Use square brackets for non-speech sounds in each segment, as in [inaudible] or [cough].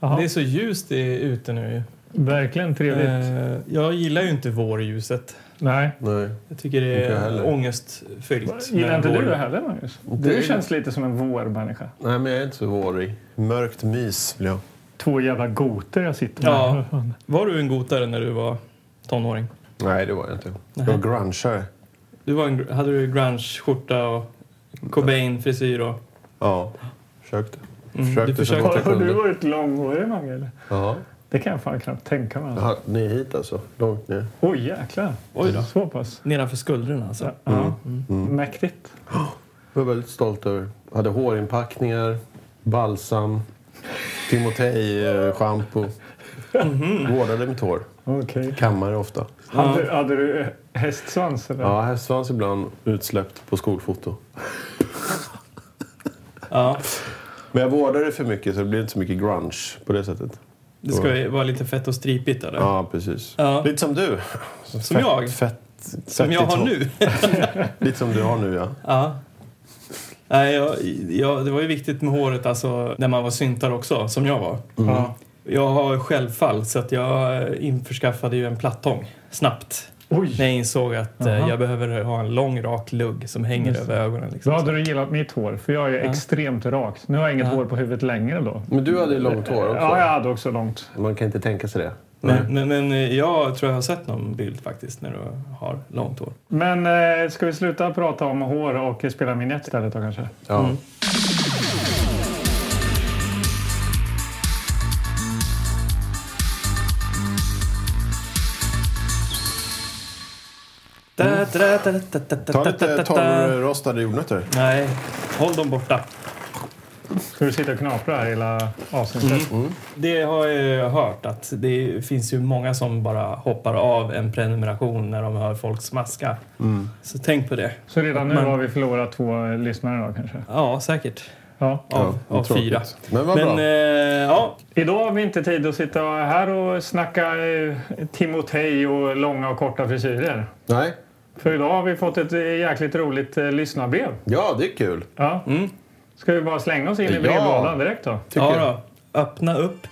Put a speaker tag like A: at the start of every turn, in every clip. A: Jaha.
B: Det är så ljust det är ute nu ju.
A: Verkligen trevligt.
B: Eh, Jag gillar ju inte vårljuset.
A: Nej.
C: Nej.
B: Jag tycker det
C: Inte jag
B: är
C: heller.
B: ångestfyllt.
A: Gillar
B: med
A: inte
B: vår.
A: du det heller, Magnus?
C: Det är-
A: Du känns lite som en vårmänniska.
C: Nej, men jag är inte så vårig. Mörkt mys blir jag.
A: Två jävla goter jag sitter med.
B: Ja. Var du en gotare när du var tonåring?
C: Nej, det var jag inte. Jag var grungeare.
B: Du var en, gr- hade du grunge-skjorta och Cobain-frisyr? Och,
C: Ja, försökte.
B: Mm,
C: försökte
B: du
C: så
B: försökte.
C: gott jag
A: Har, har
C: kunde.
A: du varit långhårig, Mange?
C: Ja.
A: Det kan jag fan knappt tänka mig. Alltså.
C: Jaha, ni är hit alltså? Långt ner?
A: Oj, jäklar.
B: Oj då.
A: Så pass.
B: nedanför skulderna alltså?
A: Ja.
C: Mm.
A: Mäktigt.
C: Jag var väldigt stolt över. Hade hårinpackningar, balsam, Timotej-schampo.
B: Mhm.
C: Vårdade mitt hår.
A: Okej.
C: Kammare ofta.
A: Hade, hade du hästsvans? Eller?
C: Ja, hästsvans ibland utsläppt på skolfoto.
B: Ja,
C: Men jag vårdade det för mycket så det blev inte så mycket grunge på det sättet.
B: det ska ju vara lite fett och stripigt eller?
C: Ja, precis.
B: Ja.
C: Lite som du. Som
B: jag?
C: Fett,
B: Som jag har nu.
C: Lite som du har nu, ja.
B: [laughs] Ja. Nej, jag, jag, det var ju viktigt med håret alltså, när man var syntare också, som jag var.
C: Mm.
A: Ja.
B: Jag har självfall så att jag införskaffade ju en plattång snabbt.
A: Oj!
B: När jag insåg att eh,
A: Aha.
B: jag behöver ha en lång rak lugg som hänger
A: Just
B: över ögonen.
A: Då
B: Liksom.
A: hade du gillat mitt hår, för jag är extremt rakt. Nu har jag inget
B: Ja.
A: hår på huvudet längre då. Eh,
C: Men du hade ju långt hår också.
A: Ja, jag hade också långt.
C: Man kan inte tänka sig det.
B: Men, men, men eh, jag tror jag har sett någon bild faktiskt när du har långt hår.
A: Men eh, ska vi sluta prata om hår och spela minett istället då kanske?
C: Ja. Mm. Ta lite eh. torrrostade jordnötter.
B: Nej, håll dem borta.
A: Ska du sitta och knapra här hela avsnittet?
B: Mm. Det har jag ju hört att det finns ju många som bara hoppar av en prenumeration när de hör folk smaska.
C: Mm.
B: Så tänk på det.
A: Så redan nu
B: Men-
A: har vi förlorat två eh, lyssnare då kanske?
B: Ja, säkert.
A: Ja.
B: Av,
C: vad
B: av
C: tråkigt.
B: fyra.
C: Men vad
B: Men
C: bra.
B: eh, ja,
A: Idag har vi inte tid att sitta här och snacka eh, Timotej och långa och korta frisyrer.
C: Nej.
A: För idag har vi fått ett eh, jäkligt roligt eh, lyssnarbrev.
C: Ja, det är kul.
A: Ja.
B: Mm.
A: Ska vi bara slänga oss in i
C: Ja.
A: brevlådan direkt då?
C: Tycker jag.
B: ja då. öppna upp.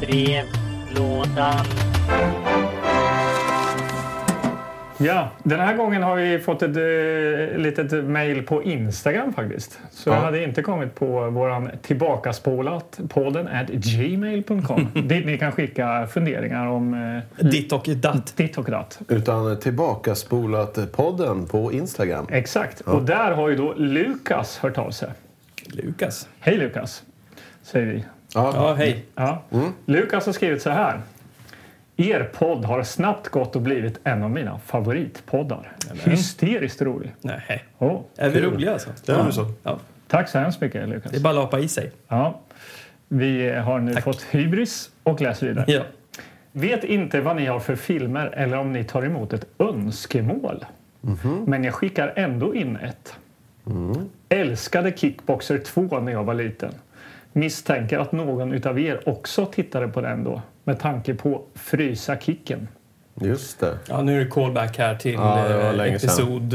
D: Brevlådan.
A: Ja, den här gången har vi fått ett eh, litet mejl på Instagram faktiskt. Så
C: Ja.
A: jag hade inte kommit på våran tillbakaspolat podden at gmail.com. dit ni kan skicka funderingar om
C: Mm.
A: eh,
B: Ditt och datt.
A: ditt och datt.
C: Utan tillbaka spolat podden på Instagram.
A: Exakt. Och där har ju då Lukas hört av sig.
B: Lukas.
A: Hej Lukas, säger vi.
B: Ja, hej.
A: Ja. Lukas har skrivit så här. Er podd har snabbt gått och blivit en av mina favoritpoddar. Hysteriskt rolig.
B: Nej.
A: Åh,
B: Är vi roliga alltså?
C: Det är väl så.
B: Ja.
A: tack så hemskt mycket Lukas.
B: Det är bara att lapa i sig.
A: Ja. Vi har nu fått hybris och läser vidare.
B: Ja.
A: Vet inte vad ni har för filmer eller om ni tar emot ett önskemål.
B: Mhm.
A: Men jag skickar ändå in ett.
B: Mm.
A: Älskade Kickboxer 2 när jag var liten. Misstänker att någon utav er också tittade på den då. Med tanke på Frysa kicken.
C: Just det.
B: ja, nu är det callback här till
C: Ja, det var
B: eh,
C: länge sedan.
B: episod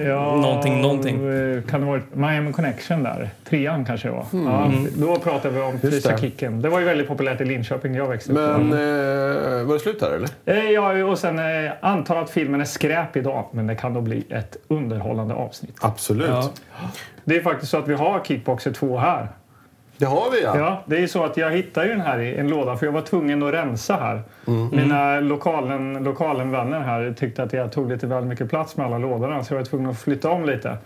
B: eh, någonting, någonting.
A: eh, Kan det ha varit Miami Connection där? Trean kanske det var.
B: Hmm.
A: Ja,
B: Mm.
A: då pratade vi om Frysa
C: det.
A: kicken. Det var ju väldigt populärt i Linköping när jag växte upp.
C: Men eh, var det slut där eller?
A: Eh, Ja, och sen eh, antar att filmen är skräp idag, men det kan då bli ett underhållande avsnitt.
C: Absolut.
B: Ja.
A: Det är faktiskt så att vi har Kickboxer 2 här.
C: Det har vi ja.
A: Ja, det är ju så att jag hittade ju den här i en låda, för jag var tvungen att rensa här. Mina lokalen, lokalen vänner här tyckte att jag tog lite väl mycket plats med alla lådorna, så jag var tvungen att flytta om lite.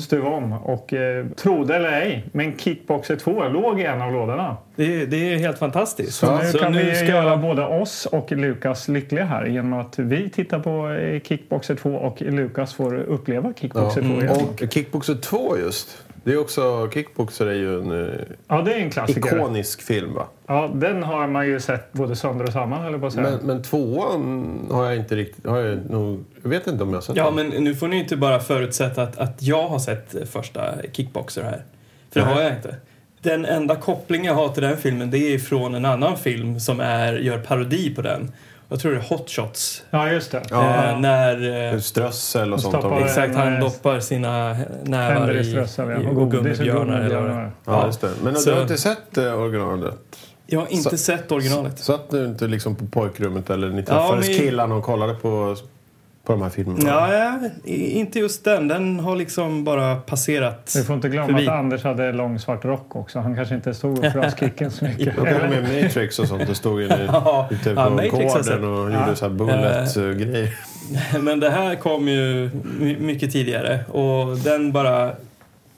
A: Stuva om. Och eh, trodde eller ej, men Kickboxer 2 låg i en av lådorna.
B: Det, är- det är helt fantastiskt.
A: Så nu kan vi göra både oss och Lukas lyckliga här genom att vi tittar på eh, Kickboxer 2 och Lukas får uppleva Kickboxer 2 igen.
C: Mm. Och Kickboxer 2 just. Det är också, Kickboxer är ju en eh,
A: Ja, det är en klassiker.
C: ikonisk film va?
A: Ja, den har man ju sett både sönder och samman, höll jag på att säga.
C: Men, men tvåan har jag inte riktigt, har jag nog, jag vet inte om jag har sett
B: Ja,
C: den.
B: men nu får ni inte bara förutsätta att, att jag har sett eh, första Kickboxer här. För det har jag inte. Den enda koppling jag har till den filmen det är från en annan film som är, gör parodi på den. jag tror det är hot shots.
A: Ja, just det.
C: Ja.
B: Eh, när eh,
C: Strössel och sånt.
A: Stoppar-
B: exakt, han
A: Nej.
B: doppar sina nävar
A: Händer
B: i,
A: i strössel, ja.
B: i-
A: Och
B: och
A: godis och
B: gummibjörnar. Eller vad det
A: gummibjörnar.
B: är.
C: Ja, just det. Men
B: Så-
C: du har inte sett eh, originalet?
B: Jag har inte
C: Så-
B: sett originalet.
C: Satt nu inte liksom på pojkrummet eller ni träffades
B: men-
C: killarna och kollade på, på de här filmerna?
B: Ja, ja, i- inte just den. Den har liksom bara passerat.
A: Vi får inte glömma
B: Förbi.
A: att Anders hade lång svart rock också. Han kanske inte stod upp för
B: [laughs]
A: hans kicken så mycket.
C: Jag kollade med Matrix och sånt. Det stod inne
B: [laughs]
C: i-
B: Ja,
C: ute på
B: ja, Matrix har jag sett. Eh,
C: gården och gjorde så här bullet-grejer.
B: [laughs] Men det här kom ju my- mycket tidigare och den bara...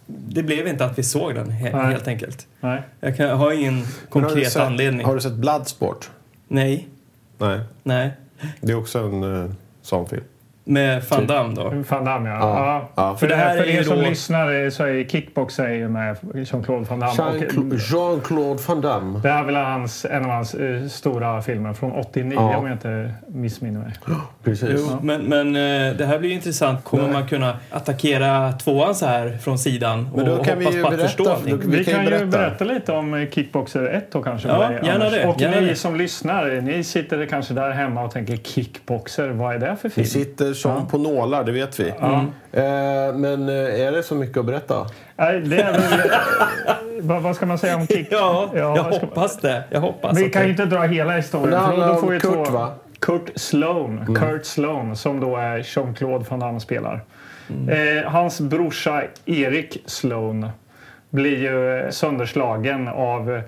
B: Det blev inte att vi såg den he-
A: Nej.
B: helt enkelt.
A: Nej.
B: Jag kan, har ingen konkret
C: har du sett,
B: anledning.
C: Har du sett Bloodsport?
B: Nej,
C: Nej.
B: nej.
C: Det är också en uh, sån film.
B: Med Van Damme då.
A: Van Damme, ja.
C: Ja,
A: ja.
C: ja.
A: För, det här, för
B: är ju
A: er som
B: då-
A: lyssnar så är kickbox är ju med Jean-Claude Van Damme. Och
E: Jean-Cla- Jean-Claude Van Damme.
A: det här är väl hans, en av hans eh, stora filmer från 89
E: Ja.
A: om jag inte missminner mig.
E: Precis.
B: Jo, men, men eh, det här blir ju intressant. Kommer man kunna attackera tvåan så här från sidan och
C: Men då kan vi
B: hoppas
C: ju
B: på att
C: berätta
B: förstå
C: för-
B: allting?
C: Vi
A: Vi,
C: kan
A: kan,
C: ju
A: ju
C: berätta.
A: berätta. lite om eh, Kickboxer 1 då kanske.
B: Ja,
A: för dig,
B: gärna
A: Anders.
B: det,
A: Och
B: gärna
A: ni
B: det.
A: som lyssnar, ni sitter kanske där hemma och tänker Kickboxer, vad är det för
C: Vi
A: film?
C: sitter som på nålar, det vet vi.
E: Eh, men eh, är det så mycket att berätta?
A: Nej, det är väl, [laughs] vad, vad ska man säga om Kick?
B: Ja, jag
A: vad ska man-
B: hoppas det. Jag hoppas
A: Men vi
B: att
A: kan
B: det-
A: ju inte dra hela
E: Alltså, Det
A: historien. För
E: handlar
A: då
E: om
A: får ju
E: Kurt,
A: två...
E: va? Mm.
A: Kurt Sloan, Kurt Sloan, som då är Jean-Claude Van Damme spelar.
E: Mm.
A: Eh, hans brorsa Erik Sloan blir ju eh, sönderslagen av eh,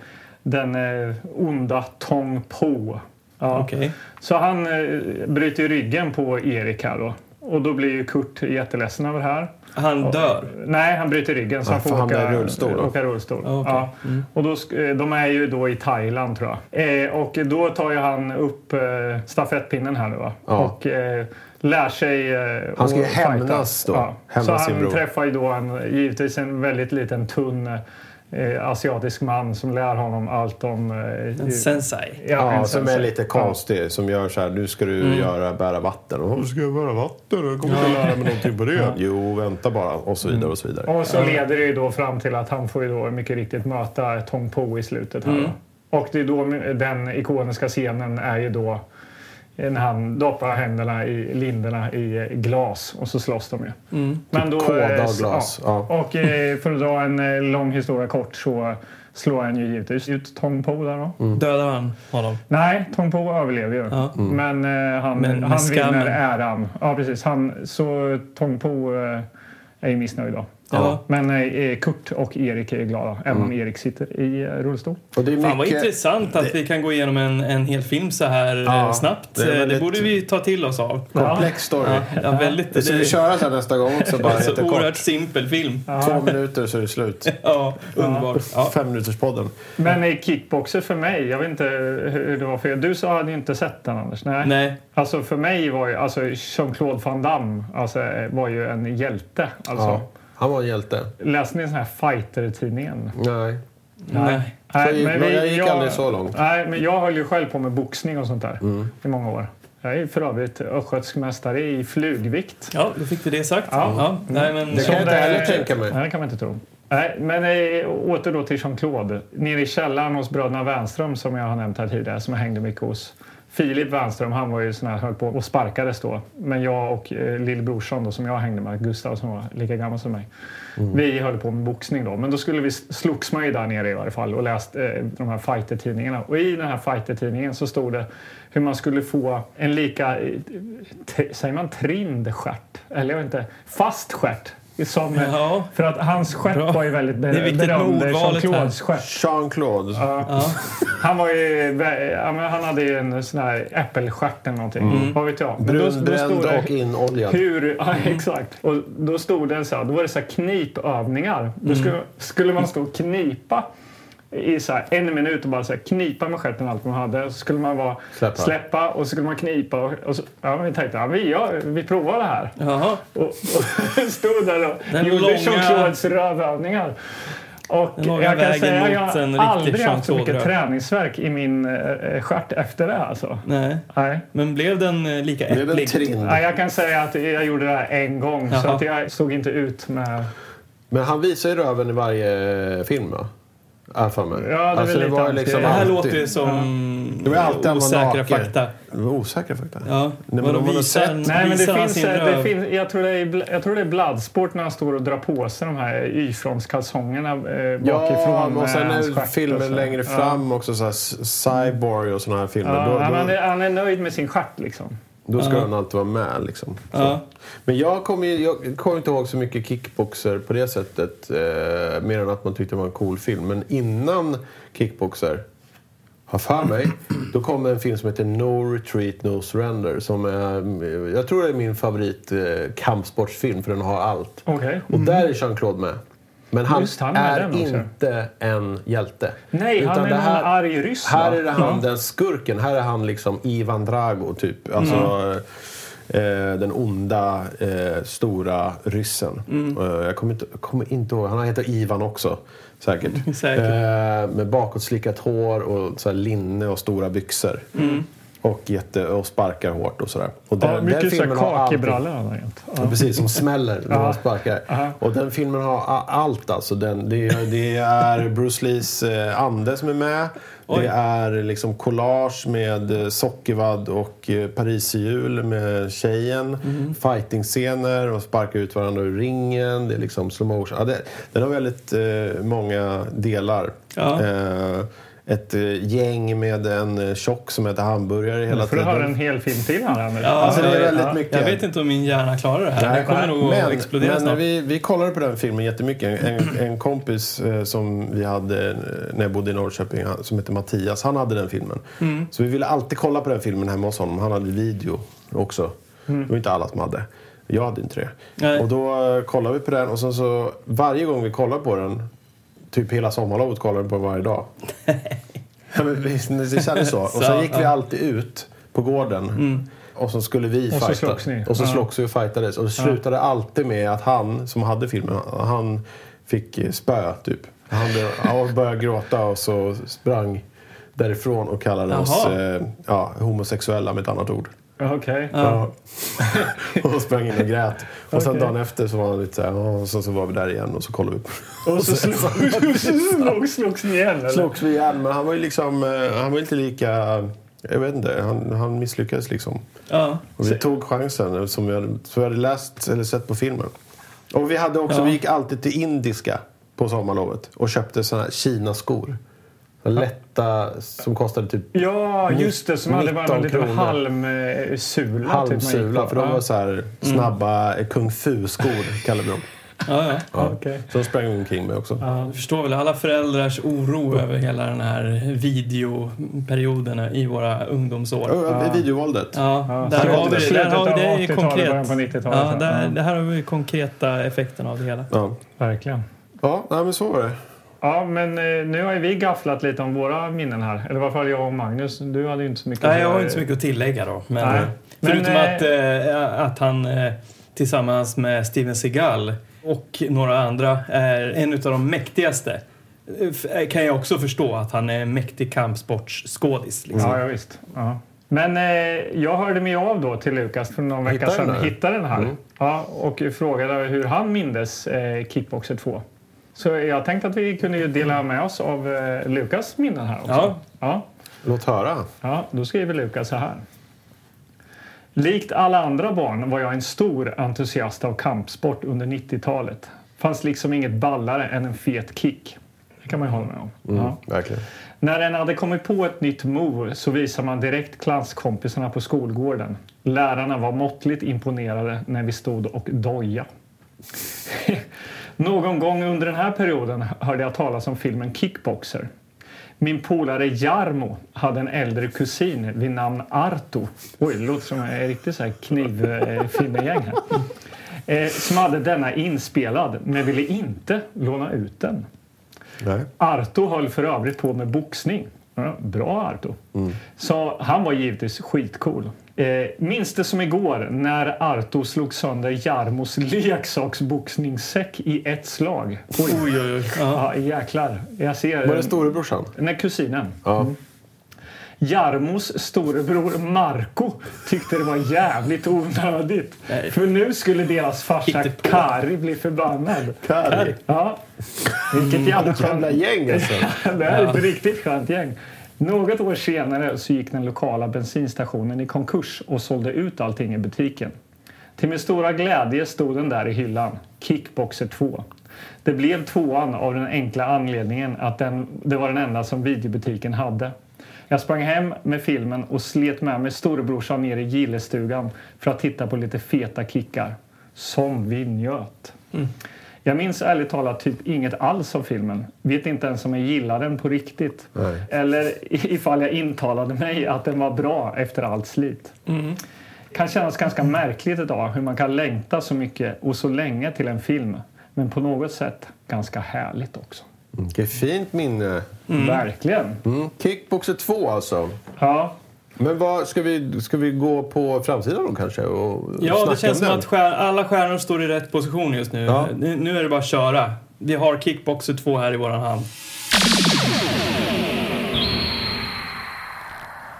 A: den eh, onda Tong Po. Ja.
B: Okej.
A: Så han eh, bryter ju ryggen på Erik här då. Och då blir ju Kurt jätteledsen över det här.
B: Han dör.
A: Nej, han bryter ryggen så
C: Ja,
A: han får
C: för han
A: åka
C: blir i rullstol då?
A: åka rullstol.
B: Ja, okej. Mm.
A: Ja. Och då, sk- eh, de är ju då i Thailand tror jag. Eh, och då tar ju han upp eh, stafettpinnen här nu va?
C: Ja.
A: Och eh, lär sig eh,
C: Han ska ju
A: att fighta.
C: hämnas då. Hämnas
A: så
C: sin
A: han
C: bror.
A: träffar ju då en, givetvis en väldigt liten tunn eh, asiatisk man som lär honom allt om... Eh,
B: En sensei.
C: Ja, Mm.
A: en
C: som är
A: sensei.
C: lite konstig. Som gör så här, nu ska du göra bära vatten. Och, "Varför ska jag bära vatten? Jag kommer inte lära mig någonting på det. Jo, vänta bara. Och så vidare och så vidare.
A: Och så leder det ju då fram till att han får ju då mycket riktigt möta Tong Po i slutet. Här. Och det är då den ikoniska scenen är ju då när han doppar händerna i linderna i eh, glas och så slåss de ju. Men då,
C: Kåda
A: eh,
C: och glas, ja.
A: Och eh, för att dra en eh, lång historia kort så slår han ju givetvis ut Tong Po där då.
B: Dödar han honom?
A: Nej, Tong Po överlever ju.
B: Ja. Mm.
A: Men eh, han,
B: Men med
A: han vinner
B: skammen.
A: äran. Ja, precis. Han, så Tong Po eh, är ju missnöjd då.
B: Ja.
A: Men eh, Kurt och Erik är glada, även
B: Mm.
A: om Erik sitter i eh, rullstol.
C: Och det är
B: Fan vad
C: mycket...
B: intressant att vi kan gå igenom en, en hel film så här eh, snabbt.
C: det är
B: Det, det
C: väldigt-
B: borde vi ta till oss av.
C: Komplex story.
B: Ja, ja, väldigt.
C: Det Alltså, ska vi
B: Det
C: köra så här nästa gång också. Bara
B: är så
C: jättekort.
B: oerhört simpel film.
C: Två minuter så är det slut.
B: Ja, underbart. Ja.
C: Fem minuters podden.
A: Men eh, kickboxer för mig, jag vet inte hur det var för er. Du sa hade ju inte sett den Anders? Nej.
B: Nej,
A: Alltså för mig var ju alltså Jean-Claude Van Damme alltså, eh, var ju en hjälte. Alltså.
C: Ja. Han var en hjälte.
A: Läste ni den här fighter-tidningen?
C: Nej.
B: nej.
A: Nej,
C: gick- men jag gick aldrig så långt. Mm.
A: Nej, men jag höll ju själv på med boxning och sånt där i många år. Jag är för övrigt östgötsk mästare i flugvikt.
B: Ja, då fick vi det sagt. Ja.
A: Ja.
B: Nej, men,
C: Mm. Det kan jag inte heller tänka mig.
A: Nej, det kan man inte tro. Nej, men eh, åter då till Jean-Claude. Nere i källaren hos bröderna Wernström som jag har nämnt här tidigare, som jag hängde mycket hos. Filip Wernström, han var ju sån här, höll på och sparkades då. Men jag och eh, lillbrorsan då, som jag hängde med, Gustav som var lika gammal som mig. Vi höll på med boxning då, men då skulle vi slogs man ju där nere i varje fall och läst eh, de här fightertidningarna. Och i den här fightertidningen så stod det hur man skulle få en lika, eh, t- säger man trimd stjärt? Eller jag vet inte, fast stjärt. Som, eh,
B: Ja.
A: för att hans stjärt
B: Bra.
A: var ju väldigt ber-
B: Det är viktigt med
A: berömd.
B: ordvalet
A: Jean-Claudes stjärt.
C: Jean-Claude.
A: Han, var ju, vä- ja, men han hade ju en sån här äppelstjärt eller någonting. Vad vet jag. Men då- då
C: Brunbränd
A: stod det-
C: och inoljad.
A: hur, [laughs] ja, exakt. Och då stod det så här, då var det så här knipövningar. Då skulle, skulle man stå och knipa i så här en minut och bara så här knipa med stjärten allt man hade. Så skulle man vara
C: Släppa.
A: släppa och så skulle man knipa. Och, och så, ja, men vi tänkte, ja, vi, gör, vi provar det här.
B: Jaha.
A: Och, [laughs] och stod där och
B: Den
A: gjorde
B: långa-
A: Jean-Claudes rövövningar. Och
B: Den långa
A: jag kan
B: vägen
A: säga
B: mot
A: jag
B: en
A: har
B: riktig
A: aldrig haft så mycket
B: Jean-Claude-röv.
A: träningsvärk i min eh, stjärt efter det här, alltså.
B: Nej.
A: Nej.
B: Men blev den eh, lika
C: Det är väl
B: äcklig?
C: trind.
A: Ja, jag kan säga att jag gjorde det här en gång så
B: Jaha.
A: att jag stod inte ut med...
C: Men han visar ju röven i varje eh, film va?
E: har jag för mig.
A: Ja, det
C: Alltså,
A: är väl lite
E: ju
A: anti-
C: liksom
B: Det här
E: alltid-
B: låter ju som
C: Det var alltid han var
B: osäkra
C: naken.
B: fakta.
C: Det var osäkra fakta.
B: Ja.
C: men
B: Vadå,
C: om man har
B: visar
C: sett-
B: han-
A: Nej, men det
B: visar han
A: finns,
B: sin
A: eh, det
B: röv?
A: finns, jag, tror det är, bl- jag tror det är Bloodsport när han står och drar på sig de här Y-frontskalsongerna eh, bakifrån.
C: Ja, och sen
A: med hans
C: är
A: stjärt och så.
C: filmen längre fram också. Så här, c- cyborg och såna här filmer.
A: Ja,
C: då,
A: han, han,
C: då,
A: är, han är nöjd med sin stjärt liksom.
C: då ska han alltid vara med liksom. Så.
B: Ja.
C: Men jag kommer ju- jag kommer inte ihåg så mycket kickboxer på det sättet. Eh, mer än att man tyckte det var en cool film. Men innan kickboxer har för mig, då kom det en film som heter No Retreat No Surrender. Som är, eh, jag tror det är min favorit eh, kampsportsfilm för den har allt.
A: Okej.
C: Och där är Jean-Claude med. Men han,
A: Mm. Just, han är
C: är,
A: den också.
C: inte en hjälte.
A: Nej, han är
C: det
A: någon arg ryss.
C: Här
A: va?
C: är det han, den skurken. Här är han liksom Ivan Drago, typ. Alltså
A: Mm.
C: eh, den onda, eh, stora ryssen.
A: Mm.
C: Eh, jag kommer inte, jag kommer inte ihåg. Han heter Ivan också,
A: [laughs]
C: säkert.
B: Säkert.
C: Eh, med bakåtslickat hår och så här linne och stora byxor. Och, jätte, och sparkar hårt och sådär. Och
A: Mm. Ja, mycket så här
C: filmen har allting.
A: kakebrallor han har rent.
C: Ja,
A: Ja.
C: Precis, som smäller när man sparkar.
A: Aha.
C: Och den filmen har a- allt alltså. Den, det, är, det är Bruce Lees eh, ande som är med.
B: Oj.
C: Det är liksom collage med eh, sockervadd och eh, pariserhjul med tjejen. Fighting-scener och sparkar ut varandra ur ringen. Det är liksom slow motion. Ja, det, den har väldigt eh, många delar.
B: Ja.
C: Eh, ett eh, gäng med en eh, tjock som äter hamburgare hela
A: Då får Mm, du
C: tiden.
A: höra en hel film till här nu.
C: Alltså det är
B: Ja,
C: väldigt
A: ja.
C: mycket.
B: Jag vet inte om min hjärna klarar det här.
C: Nej,
B: Den kommer
C: nej.
B: nog att
C: men,
B: explodera
C: men
B: snart.
C: vi, vi kollade på den filmen jättemycket. En, en kompis eh, som vi hade eh, när jag bodde i Norrköping, han, som hette Mattias, han hade den filmen.
B: Mm.
C: Så vi ville alltid kolla på den filmen hemma hos honom. Han hade video också. Det var inte alla som hade. Jag hade inte det.
B: Mm. Nej.
C: Och då eh, kollade vi på den och sen så varje gång vi kollade på den, typ hela sommarlovet kollade vi på den
B: [laughs]
C: varje dag. Ja, men vi- det kändes så. Och
B: Så, Mm.
C: sen gick vi alltid ut på gården. Och så skulle vi
A: Och så
C: fighta.
A: slogs ni.
C: Och så
A: Ja.
C: slogs vi och fightades. Och det slutade alltid med att han som hade filmen, han fick eh, spö typ. Han blev- han började gråta och så sprang därifrån och kallade
B: Jaha.
C: oss eh, ja, homosexuella med ett annat ord.
A: Ja, Okej.
C: Ja. [laughs] och sprang in och grät. Och sen
A: Okej.
C: dagen efter så var han lite så här, "Ja", och sen så var vi där igen och så kollade vi på
A: Och så slogs- slogs- slogs ni igen eller?
C: slogs vi igen, men han var ju liksom, eh, han var inte lika, jag vet inte, han, han misslyckades liksom.
B: Ja.
C: Och vi tog chansen eh, som vi, hade, som vi hade läst eller sett på filmen. Och vi hade också,
B: Ja.
C: vi gick alltid till indiska på sommarlovet och köpte såna här Kina-skor. Så Lätta, som kostade typ
A: Ja, just det. Som hade varit en
C: 19
A: liten
C: kronor.
A: halmsula. typ,
B: typ
C: halmsula, för de var så här
B: Mm.
C: snabba eh, kung fu-skor, kallade vi dem.
B: Ja, ja.
C: Ja.
A: Okej.
C: Så de sprang vi omkring med också.
B: Jag förstår väl alla föräldrars oro över hela den här videoperioden i våra ungdomsår.
C: Och, eh, Videovåldet.
B: Ja,
A: Ja,
B: där har vi det.
A: slutet
B: Där har vi
A: av
B: det
A: 80-talet, början på
B: konkret.
A: 90-talet,
B: Ja,
A: ja.
B: där,
A: Ja.
B: det här har vi konkreta effekten av det hela.
C: Ja,
A: Verkligen.
C: ja nej, men så var det.
A: Ja, men eh, nu har ju vi gafflat lite om våra minnen här. Eller i varje fall jag och Magnus. Du hade ju inte så mycket.
B: Nej, jag har inte så mycket att tillägga då. Men,
A: Nej.
B: Förutom
A: Men,
B: att, eh, att han eh, tillsammans med Steven Seagal och några andra är en av de mäktigaste. Eh, f- Kan jag också förstå att han är en mäktig kampsportsskådis. Liksom.
A: Ja, ja visst. Ja. Men eh, jag hörde mig av då till Lukas för någon vecka
C: Hittade
A: sedan.
C: den här? Mm.
A: Hittade den här. Ja, och frågade hur han mindes eh, Kickboxer 2. Så jag tänkte att vi kunde ju dela med oss av eh, Lukas minnen här också.
B: Ja.
A: Ja,
C: Låt höra.
A: ja, då skriver Lukas så här. Likt alla andra barn var jag en stor entusiast av kampsport under 90-talet. Fanns liksom inget ballare än en fet kick. Det kan man ju hålla med om. Ja.
C: Verkligen.
A: När en hade kommit på ett nytt move så visade man direkt klasskompisarna på skolgården. Lärarna var måttligt imponerade när vi stod och doja. [laughs] Någon gång under den här perioden hörde jag talas om filmen Kickboxer. Min polare Jarmo hade en äldre kusin vid namn Arto. Oj, det låter som en riktig så här knivfinnegäng här. Eh, som hade denna inspelad, men ville inte låna ut den.
C: Nej.
A: Arto höll för övrigt på med boxning. Ja, bra Arto. Så han var givetvis skitcool. Eh, minns det som igår när Arto slog sönder Jarmos [laughs] leksaksboxningssäck i ett slag. Oj,
B: Oj, oj, oj.
A: ja,
B: Ja.
A: jäklar. Jag ser... eh,
C: Var det storebrorsan?
A: Nej, kusinen.
C: Ja.
A: Mm. Jarmos storebror Marco tyckte det var jävligt onödigt.
B: Nej.
A: För nu skulle deras farsa
B: Hitta på.
A: Kari bli förbannad.
C: Kari.
A: Ja. Vilket jävla
C: Jävla
A: skönt.
C: gäng alltså.
A: [laughs] Det här är ett riktigt skönt gäng. Något år senare så gick den lokala bensinstationen i konkurs och sålde ut allting i butiken. Till min stora glädje stod den där i hyllan, Kickboxer 2. Det blev tvåan av den enkla anledningen att den, det var den enda som videobutiken hade. Jag sprang hem med filmen och slet med mig storebrorsan ner i gillestugan för att titta på lite feta kickar. Som vi njöt. Jag minns ärligt talat typ inget alls av filmen. Vet inte ens om jag gillar den på riktigt.
C: Nej.
A: Eller i- ifall jag intalade mig att den var bra efter allt slit. Kan kännas ganska märkligt idag hur man kan längta så mycket och så länge till en film. Men på något sätt ganska härligt också.
C: Vilket fint minne.
A: Verkligen.
C: Mm. Kickboxer 2 alltså.
A: Ja,
C: Men vad, ska, vi, ska vi gå på framsidan då kanske? Och
B: Ja,
C: snacka
B: det känns
C: om
B: som
C: den?
B: att stjär, alla stjärnor står i rätt position just nu.
C: Ja.
B: nu. Nu är det bara att köra. Vi har Kickboxer 2 här i våran hand.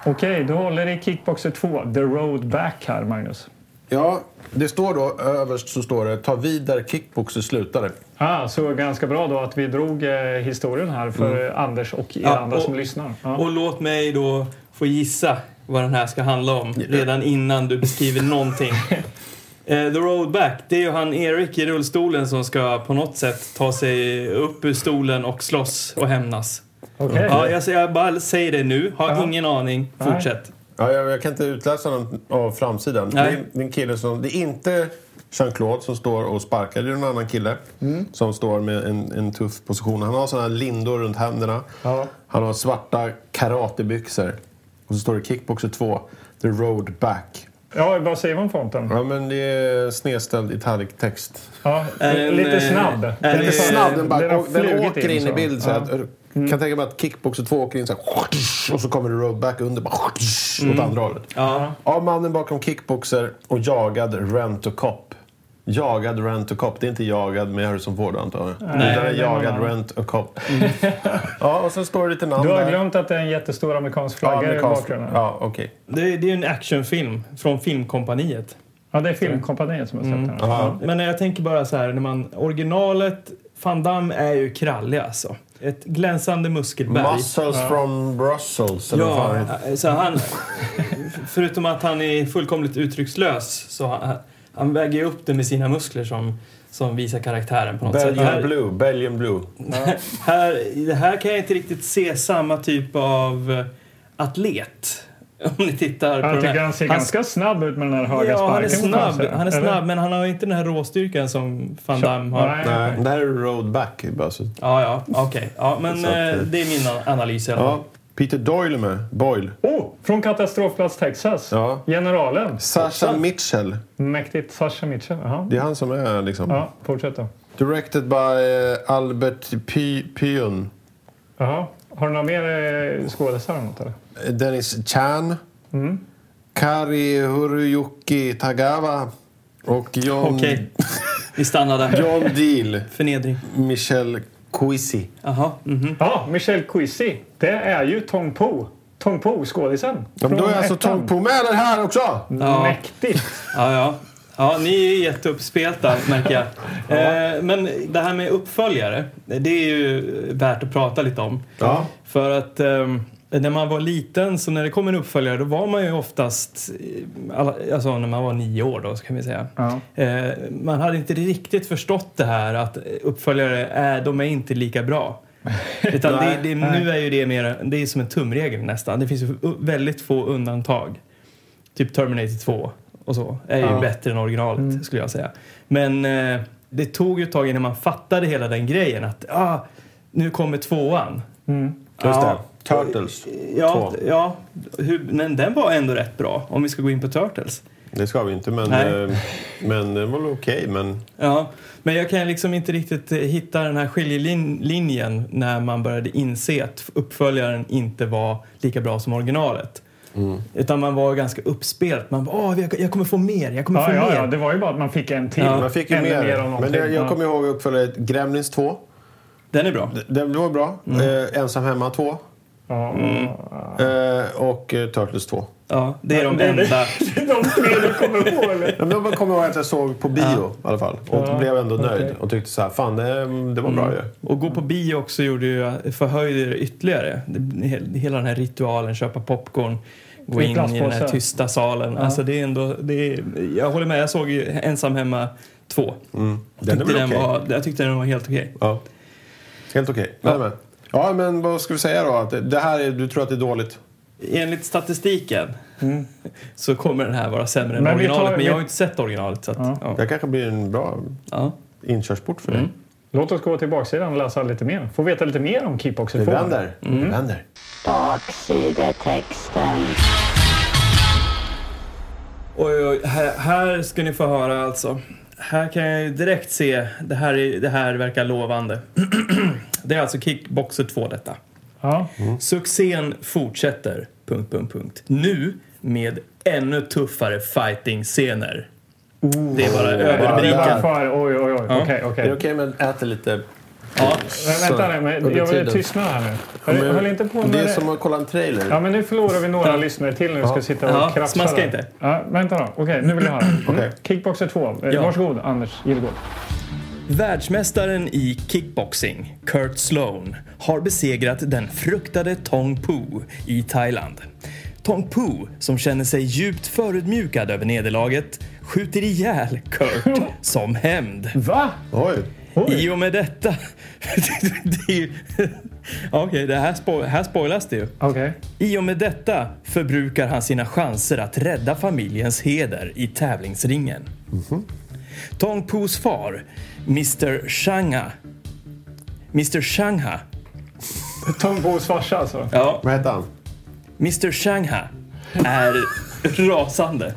A: Okej, du håller i Kickboxer 2, The Road Back här, Magnus.
C: Ja, det står då överst så står det ta vid där kickboxer slutade.
A: Ah, så ganska bra då att vi drog eh, historien här för Anders och er
B: Mm. Ja,
A: andra som
B: och-
A: lyssnar. Ja.
B: Och låt mig då få gissa vad den här ska handla om redan innan du beskriver någonting. Eh, The Road Back, det är ju han Erik i rullstolen som ska på något sätt ta sig upp ur stolen och slåss och hämnas.
A: Okej.
B: Ja, jag, jag bara säger det nu, har
A: Ja.
B: ingen aning.
A: Nej.
B: Fortsätt.
C: Ja, jag, jag kan inte utläsa någon av framsidan.
B: Nej.
C: Det är- Det är en kille som... Det är inte Jean-Claude som står och sparkar. Det är en annan kille som står med en, en tuff position. Han har såna här lindor runt händerna.
A: Ja.
C: Han har svarta karatebyxor. Och så står det kickboxer 2, the road back.
A: ja, vad säger man fonten?
C: Ja, men det är snedställd italic-text.
A: Ja,
B: Är den,
A: lite
B: eh,
A: snabb.
B: är
A: Den
B: Eh,
C: Lite snabb, den, bara,
A: den har
C: och, den
A: flugit
C: åker in,
A: så.
C: i bild. Så
A: Ja.
C: att, Kan tänka mig att kickboxer 2 åker in så här, och så kommer det roadback under bara,
A: Mm.
C: åt andra hållet.
B: Ja.
C: Av mannen bakom kickboxer och jagad rent och cop. Jagad rent och cop. Det är inte jagad med Harrison Ford antar jag. Utan
A: Nej,
C: det är
A: det är
C: jagad
A: någon annan. Mm.
C: rent och cop. [laughs] ja, och sen står det lite namn
A: Du har
C: där.
A: glömt att det är en jättestor amerikansk flagga i
C: amerikansk-
A: bakgrunden. Ja.
C: Ja, okej.
B: Det, är- det är ju en actionfilm från Filmkompaniet.
A: det är Filmkompaniet som har sett den.
C: Mm. Ja.
B: Men jag tänker bara så här, när man, originalet, Van Damme är ju krallig alltså. Ett glänsande muskelberg.
C: Muscles from Brussels. Eller vad fan det heter.
B: Ja, eh, så han, förutom att han är fullkomligt uttryckslös så han, han väger ju upp det med sina muskler som, som visar karaktären på något sätt.
C: Belgian
B: Här,
C: blue. Belgian blue.
B: här, i det här kan jag inte riktigt se samma typ av eh, atlet. Om ni tittar på
A: Jag
B: den
A: tycker
B: här.
A: han ser
B: Han-
A: ganska snabb ut med den här höga
B: ja, han är
A: sparken. får man
B: snabb,
A: säga.
B: han är
A: Eller?
B: snabb men han har ju inte den här råstyrkan som van Damme har.
A: Nej.
C: Nej, det här är roadback. Bara så.
B: Ja, ja, okej. Ja, men
C: Så att, eh,
B: eh, det är min an- analys i alla fall.
C: Ja. Peter Doyle är med. Boyle.
A: Oh, från Katastrofplats Texas.
C: Ja.
A: Generalen.
C: Sasha Mitchell.
A: Mäktigt. Sasha Mitchell. Jaha.
C: Det är han som är liksom.
A: Ja, fortsätt då.
C: Directed by eh, Albert Py- Pyun.
A: Jaha. Har du några mer eh, skådisar? eller något, eller?
C: Dennis Chan. Kari Horiyuki Tagawa. Och John,
B: Okej, vi stannar där.
C: John Deal.
B: Förnedring.
C: Michel Coisy.
B: Jaha, mhm.
A: Ja, Michelle Quissi. Det är ju Tong Po. Tong Po, skådisen.
C: Ja, men då är
A: Från
C: alltså
A: ettan.
C: Tom Pomäler här också!
B: Ja.
A: Mäktigt.
B: Ja, ja. Ja, ni är jätteuppspelta märker jag. Eh, men det här med uppföljare, det är ju värt att prata lite om.
C: Ja.
B: För att ehm, när man var liten, så när det kom en uppföljare, då var man ju oftast, eh, alla- alltså när man var nio år då, så kan vi säga.
A: Ja.
B: Eh, man hade inte riktigt förstått det här att uppföljare är, de är inte lika [laughs] bra. Utan det, det, nu är ju det mer, det är som en tumregel nästan. Det finns ju väldigt få undantag. Typ Terminator 2 och så är ju
C: Ja.
B: bättre än originalet skulle jag säga. Men eh, det tog ju ett tag innan man fattade hela den grejen att ah, nu kommer tvåan.
C: Just det.
B: Ja.
C: Turtles.
B: Ja,
C: Två.
B: ja hur, men den var ändå rätt bra om vi ska gå in på Turtles.
C: Det ska vi inte, men,
B: Nej.
C: eh, men det var väl okej. men
B: Ja, men jag kan liksom inte riktigt eh, hitta den här skiljelinjen när man började inse att uppföljaren inte var lika bra som originalet.
C: Mm.
B: Utan man var ganska uppspelt. Man bara, "Åh, jag- jag kommer få mer, jag kommer
A: Ja,
B: få
A: ja,
B: mer.
A: ja, det var ju bara att man fick en till.
B: Ja.
C: man fick ju
A: Ännu
C: mer.
A: mer av någonting.
C: men det, jag
A: Ja.
C: kommer ihåg uppföljaren Gremlins 2.
B: Den är bra.
C: Den var bra. Eh, ensam hemma 2.
A: Ja,
C: Eh, och eh, Turtles 2.
B: Ja, det är de
A: Det är det.
B: enda.
A: [laughs] Det är de tre du kommer ihåg eller?
C: Ja, men Jag kommer ihåg att jag såg på bio i alla fall. Och
A: Ja,
C: blev ändå
A: okej. Mm.
C: nöjd och tyckte så här, fan det, det var bra ju.
B: Och gå på bio också gjorde ju, förhöjde det ytterligare. Det- he- Hela den här ritualen, köpa popcorn, gå
A: I
B: in i den här
A: plastpåse.
B: tysta salen. Alltså det är ändå, det är, jag håller med, jag såg ju Ensam hemma 2.
C: Mm. Den är
B: Tyckte
C: väl
B: den
C: okej.
B: var, jag tyckte den var helt okej.
C: Ja. Helt okej. Ja. Men, ja, men vad ska vi säga då? Att det- det här är, du tror att det är dåligt?
B: Enligt statistiken så kommer den här vara sämre än
A: Mm. Men vi tar-
B: originalet. men jag
A: vi-
B: har ju inte sett originalet. Så att,
A: Ja.
B: ja. Ja.
C: Det kanske blir en bra inkörsport för dig.
A: Mm. Låt oss gå till baksidan och läsa lite mer. Få veta lite mer om Kickboxer
C: Vi
A: 2.
C: vänder.
A: Mm.
C: Vi vänder.
F: Baksidetexten.
B: Oj, oj, här, här ska ni få höra alltså. Här kan jag ju direkt se, det här, är, det här verkar lovande. [clears throat] det är alltså Kickboxer 2 detta.
A: Ja.
B: Succén fortsätter, punkt, punkt, punkt. Nu med ännu tuffare fighting-scener. Det är
A: Oh,
B: bara överbrikat.
A: Varför? Oj, oj, oj. Okej, okej.
C: Är det okej om jag äter lite?
B: Ja.
A: Men Vänta nu, men
C: under
A: jag vill
C: tiden.
A: tystna här nu. Höll, höll inte på med
C: Mm. det är
A: det.
C: som att kolla en trailer.
A: Ja, men nu förlorar vi några lyssnare till när vi ska sitta och
B: Ja,
A: krafsa.
B: smaska
A: där.
B: inte.
A: Ja, vänta då. Okej, nu vill jag höra. Mm.
C: Okej.
A: Kickboxer 2. Eh,
B: Ja.
A: Varsågod, Anders Gillegård.
B: Världsmästaren i kickboxing, Kurt Sloan, har besegrat den fruktade Tong Po i Thailand. Tong Po, som känner sig djupt förödmjukad över nederlaget, skjuter ihjäl Kurt som hämnd.
A: Va?
C: Oj.
B: I och med detta... [laughs] det är ju... [laughs] Okej, det här, spo- här spoilas det ju.
A: Okej.
B: I och med detta förbrukar han sina chanser att rädda familjens heder i tävlingsringen. Tong Pos far, Mr Shanga. Mr Shangha.
A: Tom Boos farsa alltså.
B: Ja,
C: Vad heter han?
B: Mr Shangha är rasande.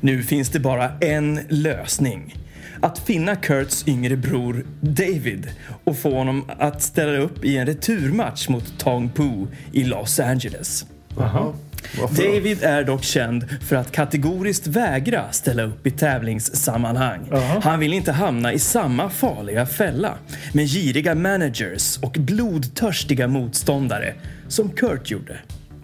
B: Nu finns det bara en lösning. Att finna Kurts yngre bror David och få honom att ställa upp i en returmatch mot Tong Po i Los Angeles. David är dock känd för att kategoriskt vägra ställa upp i tävlingssammanhang. Han vill inte hamna i samma farliga fälla med giriga managers och blodtörstiga motståndare som Kurt gjorde.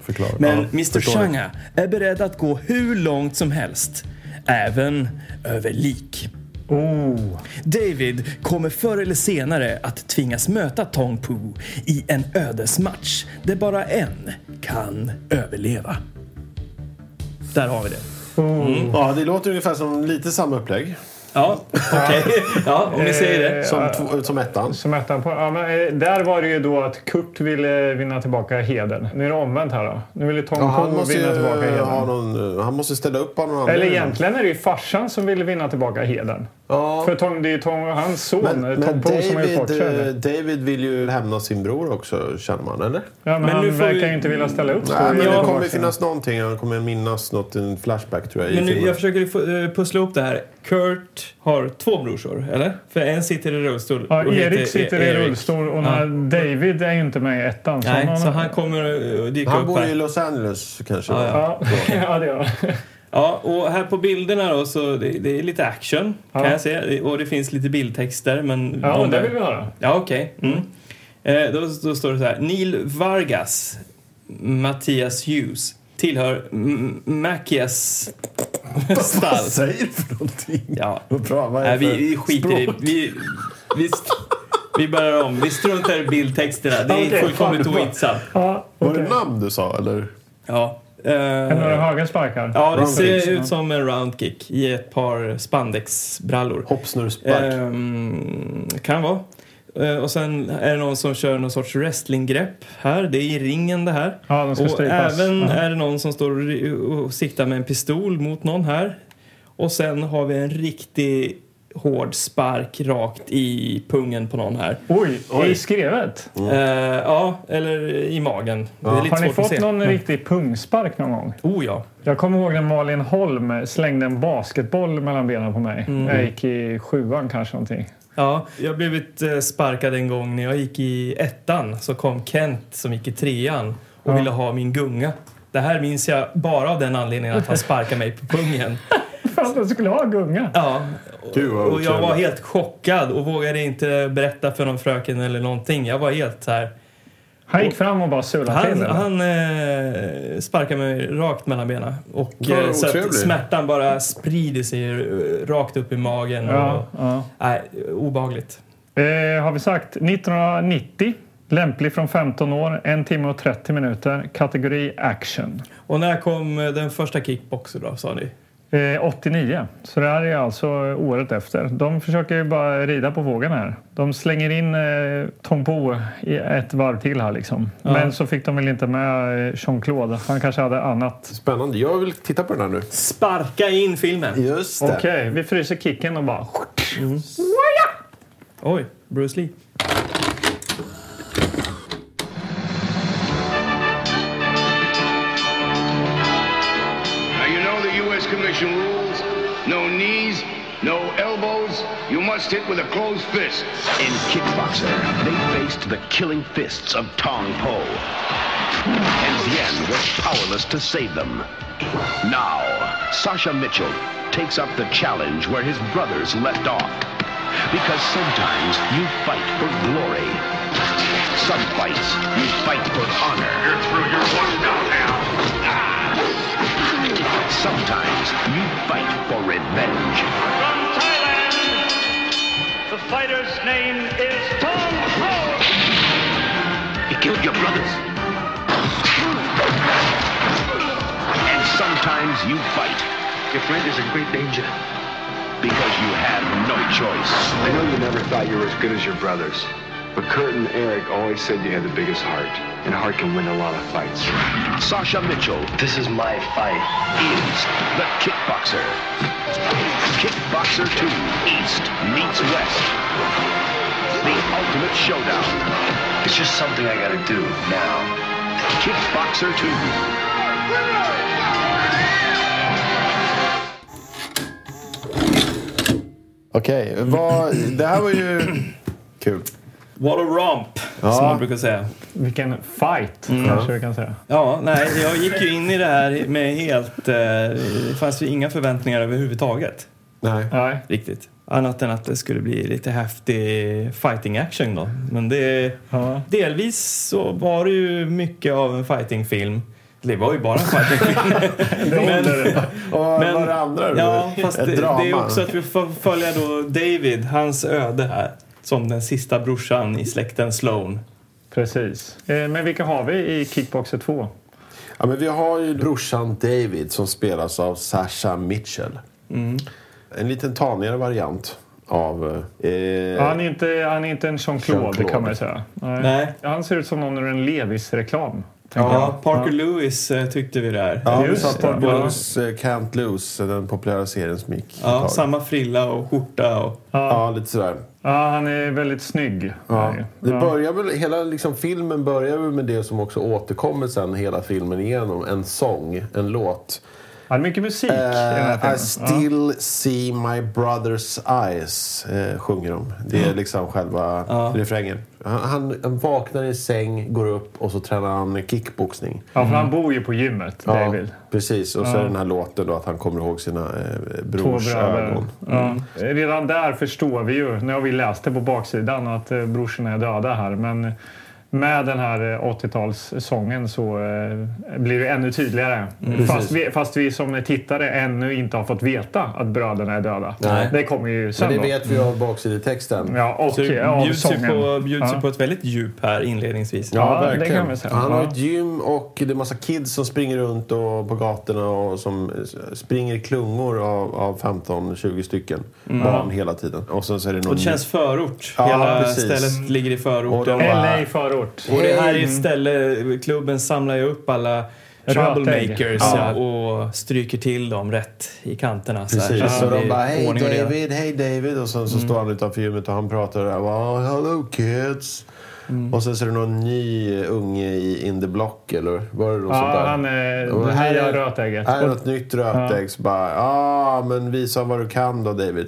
C: Förklara.
B: Men
C: Ja,
B: Mr
C: förstår det.
B: Changa är beredd att gå hur långt som helst, även över lik.
A: Oh.
B: David kommer förr eller senare att tvingas möta Tong Po i en ödesmatch där bara en kan överleva. Där har vi det.
C: Ja, det låter ungefär som lite samma upplägg
B: Ja, okej. [laughs] Ja, om vi säger det.
C: som, två- som ettan.
A: Så mötte han på... Ja, men, eh, där var det ju då att Kurt ville vinna tillbaka heden. Nu är det omvänt här då. Nu vill ju Tom
C: Ja, han,
A: Poo
C: måste ju
A: vinna tillbaka heden.
C: ha någon, eh, han måste ställa upp av någon annan.
A: Eller egentligen är det ju farsan som vill vinna tillbaka heden.
C: Ja.
A: För Tom, det är ju Tom, hans son,
C: Men,
A: eh, Tom
C: men
A: Poe, som har gjort
C: David,
A: bort sig.
C: eh, David vill ju hämna sin bror också, känner man. Eller?
A: Ja, men,
B: Men
A: han
B: nu får
A: verkar
B: vi-
A: ju inte vilja ställa upp. står
C: Nej, men
A: ju
C: det
A: på
C: kommer ju
A: baksidan.
C: finnas någonting. Han kommer minnas något, en flashback tror jag, i
B: Men nu,
C: filmen.
B: jag försöker få, eh, pussla ihop det här. Kurt har två brorsor, eller? För en sitter i rullstol.
A: Ja,
B: och heter eh,
A: Erik sitter i
B: Erik.
A: rullstol och när David är ju inte med i ettan. Så
B: Nej,
A: någon-
B: så han kommer eh, dyka
C: Han
B: upp
C: bor
B: här.
C: ju i Los Angeles kanske.
B: Ja, ja.
A: Ja, [laughs] ja det gör han.
B: Ja, och här på bilderna då så det, det är lite action
A: Ja.
B: kan jag se. Och det finns lite bildtexter men...
A: Ja,
B: om
A: och det vill vi höra.
B: Ja, okej. Mm. Eh, då, då står det så här. Neil Vargas, Mattias Hughes, tillhör M- Macias stall.
C: säger du för någonting?
B: Ja.
C: Vad bra, vad är
B: Nej,
C: det
B: vi,
C: för
B: vi skiter i...
C: språk?
B: Vi, vi, vi börjar om. Vi struntar i bildtexterna. Det är
A: Okej,
B: fullkomligt
A: fan, bra.
B: ointressant.
A: Ja,
C: Var
A: okej.
C: det namn du sa, eller?
B: Ja. Eh,
A: Är det några höga sparkar?
B: ja, det
C: Round kicks,
B: ser ut som en roundkick i ett par spandexbrallor.
C: Hoppsnurrspark.
B: Eh, Ehm, kan vara. Eh, och sen är det någon som kör någon sorts wrestlinggrepp här. Det är i ringen det här.
A: Ja, de ska
B: och
A: strypas.
B: även
A: Ja.
B: är det någon som står och- och siktar med en pistol mot någon här. Och sen har vi en riktig hård spark rakt i pungen på någon här.
A: Oj, i skrevet.
B: Eh, ja, eller i magen. Det är lite
A: Har ni
B: svårt att
A: fått
B: se. Mm.
A: någon riktig pungspark någon gång?
B: Oh ja.
A: Jag kommer ihåg när Malin Holm slängde en basketboll mellan benen på mig.
B: Mm.
A: Jag gick i sjuan kanske någonting. [laughs]
B: Ja, jag blev ett, eh, sparkad en gång när jag gick i ettan så kom Kent som gick i trean och ville ha min gunga. Det här minns jag bara av den anledningen att han sparkade mig på pungen.
A: För att jag skulle ha gunga.
B: Ja,
C: Du var
B: och jag
C: otrevlig.
B: var helt chockad och vågade inte berätta för någon fröken eller någonting. Jag var helt så här...
A: Han gick fram och bara sulade till
B: Han,
A: den.
B: han eh, sparkar mig rakt mellan benen. Och,
C: Vad
B: eh, så att
C: otrevlig.
B: smärtan bara sprider sig eh, rakt upp i magen.
A: Ja,
B: Och,
A: ja.
B: nej, obagligt.
A: Eh, har vi sagt 1990. Lämplig från 15 år, en timme och 30 minuter, kategori action.
B: Och när kom eh, den första kickboxen då, sa ni?
A: Eh, 89, så det här är alltså året efter. De försöker ju bara rida på vågen här. De slänger in eh, Tom Po i ett varv till här liksom.
B: Ja.
A: Men så fick de väl inte med eh, Jean-Claude. Han kanske hade annat.
C: Spännande. Jag vill titta på den här nu.
B: Sparka in filmen!
E: Just det.
A: Okej, vi fryser kicken och bara...
B: Oj, Bruce Lee.
F: Now, you know the U.S. Commission rules no knees, no elbows. You must hit with a closed fist.
G: In Kickboxer, they faced the killing fists of Tong Po. And Yen was powerless to save them. Now, Sasha Mitchell takes up the challenge where his brothers left off. Because sometimes you fight for glory. Some fights you fight for honor.
F: You're through. You're one down now. Ah!
G: Sometimes you fight for revenge.
H: From Thailand, the fighter's name is Tom Ho.
G: He killed your brothers. And sometimes you fight. Your friend is in great danger. Because you have no choice.
I: I know you never thought you were as good as your brothers, but Kurt and Eric always said you had the biggest heart, and heart can win a lot of fights.
G: Sasha Mitchell
J: This is my fight.
G: is the kickboxer. Kickboxer 2 East meets West. The ultimate showdown.
J: It's just something I gotta do now.
G: Kickboxer 2.
C: Okej, vad- det här var ju kul.
B: What a romp, som man brukar säga.
A: Vilken fight,
B: Mm.
A: kanske vi kan säga.
B: Ja, nej, jag gick ju in i det här med helt... Eh, det fanns ju inga förväntningar överhuvudtaget.
C: Nej.
A: Nej.
B: Riktigt. Annat än att det skulle bli lite häftig fighting action då. Men det...
A: Ja.
B: Delvis så var det ju mycket av en fightingfilm. Det var ju bara en fightingfilm. men,
C: Och vad
B: men-
C: var det andra
B: [laughs]
C: då?
B: ja, fast
C: Ett
B: det,
C: drama.
B: det är också att vi får följa då David, hans öde här. Som den sista brorsan i släkten Sloan.
A: Precis. Eh, Men vilka har vi i Kickboxer 2?
C: Ja, men vi har ju brorsan David som spelas av Sasha Mitchell. En liten tanigare variant av... Eh,
A: Han är inte, han är inte en Jean-Claude,
C: Jean-Claude.
A: kan man ju säga. Nej.
B: Nej.
A: Han ser ut som någon ur en Levis-reklam. tänker
B: Ja,
A: jag.
B: Parker Lewis eh, tyckte vi där.
C: ja,
A: just
C: just
A: det.
C: Parker
A: Ja.
C: Lewis, eh, Can't Lose, den populära serien som gick ett
B: Ja,
C: tag.
B: samma frilla och skjorta och...
C: Ja, lite sådär.
A: Ja, han är väldigt snygg.
C: Ja.
A: Nej.
C: Det börjar väl, hela liksom, filmen börjar väl med det som också återkommer sen hela filmen igenom. En sång, en låt.
A: Han är mycket musik i den här
C: Eh, I
A: filmen.
C: still see my brother's eyes, eh, sjunger de. Det är liksom själva refrängen. Han, han, han vaknar i säng, går upp och så tränar han kickboxning.
A: Ja, för han bor ju på gymmet, David.
C: precis. Och så är det den här låten då att han kommer ihåg sina eh,
A: Två
C: brors
A: bröder.
C: ögon.
A: Ja.
C: Mm.
A: Redan där förstår vi ju, när vi läste på baksidan, att eh, brorsorna är döda här. Men med den här eh, 80-talssången så eh, blir det ännu tydligare.
C: Mm.
A: Fast, vi, fast vi som tittare ännu inte har fått veta att bröderna är döda.
C: Nej.
A: Det kommer ju sen
C: Men det
A: då.
C: vet vi av baksidetexten.
A: Ja, och
B: Så det
A: av
B: typ bjuds ju
A: sången.
B: på, bjuds ju
A: Ja.
B: på ett väldigt djup här inledningsvis.
A: Ja, det kan man säga.
C: Han har
A: Ja.
C: ett gym och det är massa kids som springer runt och på gatorna och som eh, springer i klungor av, av 15-20 stycken
A: Mm.
C: barn hela tiden. Och sen så är det någon...
B: Och det känns förort.
C: Ja,
B: Hela
C: precis.
B: stället ligger i
C: Och de-
B: förorten.
A: LA i förort.
B: Och det här är
A: Mm.
B: ju ställe, klubben samlar ju upp alla troublemakers
A: Ja.
B: och stryker till dem rätt i kanterna. Så, här.
C: Precis,
B: Så
C: så
B: det
C: de
B: är
C: bara hej
B: ordning och reda.
C: David, hej David och sen så står han utanför gymmet och han pratar där well, hello kids. Och sen så är det någon ny unge i In the Block eller var det något sånt
A: Ja,
C: där?
A: han är
C: Och
A: det
C: här
A: nya
C: är-
A: rötägget.
C: Här är
A: Och-
C: något nytt rötägg. Så bara, ja ah, men visa vad du kan då David.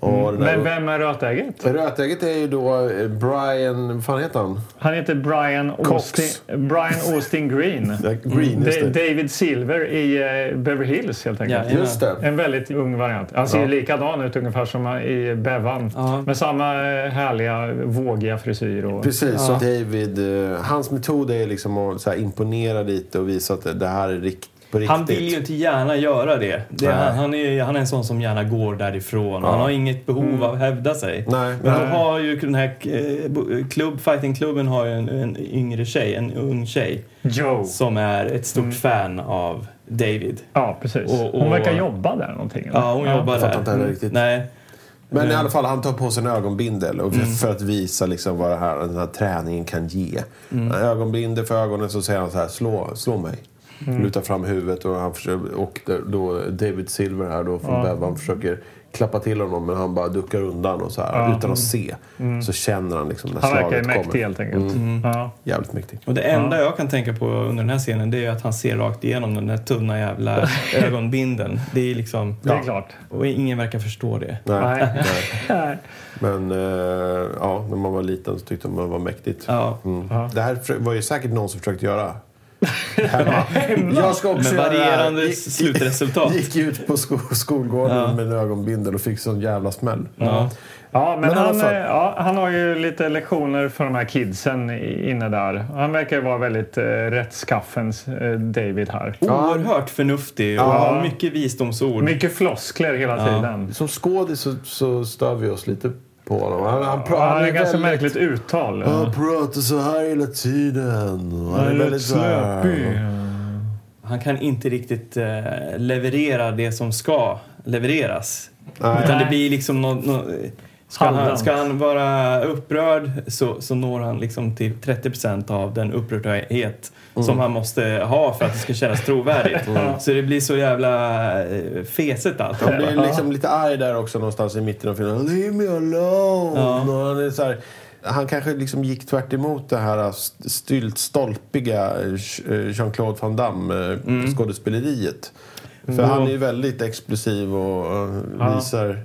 C: Och det där-
A: Mm. Men vem är rötägget?
C: Rötägget är ju då eh, Brian, vad fan heter han?
A: Han heter Brian Austin, Brian Austin Green.
C: Ja, Green, just
A: Da-
C: det.
A: David Silver i eh, Beverly Hills helt enkelt.
B: Ja, ja.
C: Just det.
A: En väldigt ung variant. Han ser ju likadan ut ungefär som i Bevan.
B: Ja.
A: Med samma eh, härliga vågiga frisyr. Och...
C: Precis, och David, eh, hans metod är liksom att så här, imponera lite och visa att det- det här är rikt, på riktigt.
B: Han vill ju inte gärna göra det. det är,
C: Nej.
B: han- han, är, han är en sån som gärna går därifrån. Han har inget behov av att hävda sig.
C: Mm. Nej,
B: Men de
C: nej.
B: har ju den här eh, bo- klubb, fightingklubben har ju en, en yngre tjej, en ung tjej
A: Joe.
B: som är ett stort
C: Mm.
B: fan av David.
A: Ja, precis.
B: Och- och-
A: Hon verkar jobba där någonting. eller?
B: Ja, hon jobbar
C: fattar inte
B: där. Mm.
C: heller riktigt.
B: Nej.
C: Men i alla fall, han tar på sig en ögonbindel och
A: Mm.
C: för att visa liksom vad det här, den här träningen kan ge. Mm. Ögonbindel för ögonen så säger han så här, slå, slå mig.
A: Mm.
C: Lutar fram huvudet och, han försöker, och då David Silver här då från Bevan försöker klappa till honom men han bara duckar undan och så här. Utan att se så känner han liksom när
A: Mm. Han verkar ju
C: slaget
A: mäktig
C: kommer. Mm.
A: helt enkelt. Ja.
C: Jävligt mäktig.
B: Och det enda jag kan tänka på under den här scenen det är ju att han ser rakt igenom den där tunna
C: [laughs]
B: jävla ögonbinden. Det är liksom...
A: Det är klart.
B: Och ingen verkar förstå det.
C: Nej.
A: Nej. [laughs] Nej.
C: Men eh, ja, när man var liten så tyckte man det var mäktigt.
B: Ja.
C: Mm. Det här för- var ju säkert någon som försökte göra. Hemma. Jag ska också
B: Med
C: göra det här.
B: varierande
C: Gick-
B: slutresultat.
C: Gick ut på sko- skolgården med en ögonbindel och fick sån jävla smäll.
B: Ja.
A: Ja, men,
C: Men i alla
A: han,
C: fall.
A: eh, ja, han har ju lite lektioner för de här kidsen i- inne där. Han verkar ju vara väldigt eh, rättskaffens eh, David här.
B: Oerhört förnuftig och har mycket visdomsord.
A: Mycket floskler hela tiden.
C: Som skådis så, så stör vi oss lite på honom. Han, han,
A: Ja,
C: pratar
A: han har
C: väldigt...
A: ett ganska märkligt uttal.
C: Han pratar så här hela tiden. Han
A: Han är
C: är väldigt
A: rätt
C: så här-
A: slöpig.
B: Han kan inte riktigt eh, leverera det som ska levereras.
C: Nej.
B: Utan det blir liksom nå nå ska, han,
A: Halvdant.
B: ska han vara upprörd så, så når han liksom till 30 av den upprördhet som han måste ha för att det ska kännas trovärdigt. Så det blir så jävla eh, fesigt allt.
C: Han
B: det
C: blir
B: där.
C: liksom lite arg där också någonstans i mitten av filmen. Leave me alone!
B: Ja.
C: Och han, är så här, han kanske liksom gick tvärt emot det här äh, st- stylt stolpiga eh, Jean-Claude Van Damme mm. skådespeleriet. För han är ju väldigt explosiv och eh, visar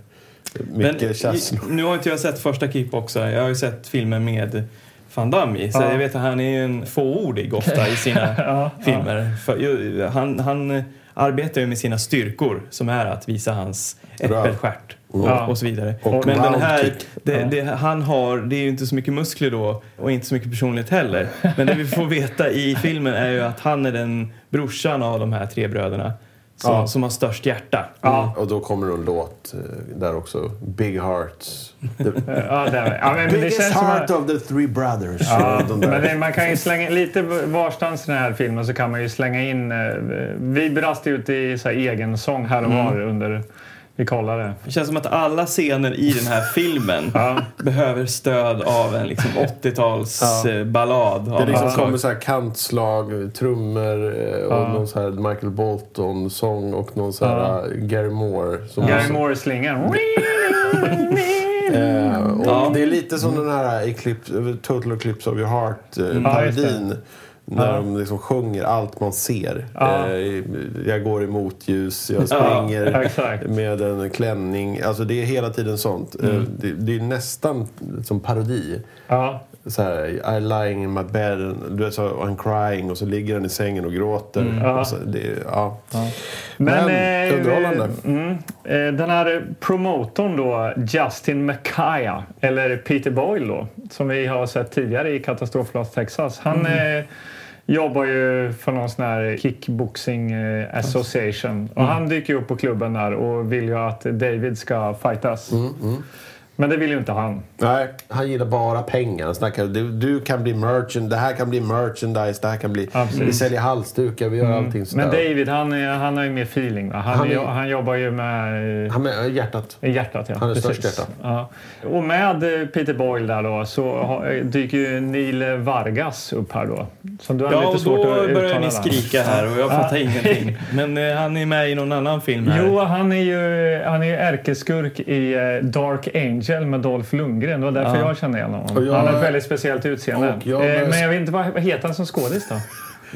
C: mycket känslor.
B: i- Nu har inte jag sett första kickboxer. Jag har ju sett filmer med Van Damme i. Så
A: Ja.
B: jag vet att han är ju en fåordig
C: [laughs]
B: ofta i sina filmer. För, ju, han, han eh, arbetar ju med sina styrkor som är att visa hans äppelstjärt. Och,
A: Ja.
B: och så vidare.
C: Och
B: Men den här,
C: roundkick.
B: det, det, han har, det är ju inte så mycket muskler då och inte så mycket personlighet heller. Men det vi får veta i filmen är ju att han är den brorsan av de här tre bröderna som, som har störst hjärta.
C: Och då kommer det en låt eh, där också. Big Hearts. The
A: Ja, det, är- ja, [laughs] men det
C: biggest
A: känns som
C: heart
A: att,
C: of the three brothers.
A: ja,
C: Eh, de där.
A: men det, man kan ju slänga lite varstans i den här filmen så kan man ju slänga in... eh, Vi brast ut i så här egen sång här
C: Mm.
A: och var under... Vi kollade.
B: Det känns som att alla scener i den här filmen behöver stöd av en liksom 80-tals eh, ballad.
C: Det
B: av
C: liksom
B: något slag.
C: kommer så här kantslag, trummor eh, och någon så här Michael Bolton-sång och någon så här eh, Gary Moore. Som
A: Gary Moore-slingan.
C: Eh, och
B: Ja.
C: Det är lite som den här Eclipse, eh, Total Eclipse of your
A: Mm. Ja, just det.
C: heart-parodin. när de liksom sjunger allt man ser. Eh, jag går i motljus, jag springer
A: [laughs] exakt. Mm.
C: med en klänning. Alltså det är hela tiden sånt. Eh, det, det är nästan som parodi.
A: Ja.
C: så här, I lying in my bed, and- du vet, så, I'm crying och så ligger han i sängen och gråter.
A: Mm.
C: Och så, det, är- ja. Men,
A: eh,
C: underhållande.
A: Mm, eh, den här promotorn då, Justin Messiah, eller Peter Boyle då, som vi har sett tidigare i Katastroflas Texas. Han
C: Mm.
A: eh, jobbar ju för någon sån här kickboxing eh, association och
C: Mm.
A: han dyker ju upp på klubben där och vill ju att David ska fightas.
C: Mm,
A: Men det vill ju inte han.
C: Nej, han gillar bara pengar. Han snackar, du, du kan bli merchant, det här kan bli merchandise, det här kan bli...
A: Absolut. Mm.
C: Vi säljer halsdukar, vi gör allting sådär.
A: Men David, han, är- han har ju mer feeling. Va? Han,
C: Han
A: är,
C: är-
A: han jobbar ju med... eh,
C: Han med äh, hjärtat.
A: Hjärtat, ja.
C: Han är
A: Precis.
C: störst hjärta.
A: Ja. Och med eh, Peter Boyle där då så har- eh, dyker ju Neil Vargas upp här då. Som du har
B: Ja, och
A: lite svårt
B: då
A: att uttala.
B: börjar ni
A: namn.
B: skrika här och jag fattar ingenting. Men eh, han är med i någon annan film här.
A: Jo, han är ju han är ju ärkeskurk i eh, Dark Angel med Dolph Lundgren. Det var därför jag kände igen honom.
C: Och jag-
A: han har ett väldigt speciellt utseende.
C: och jag-
A: eh, men jag vet inte, vad, vad heter han som skådis då?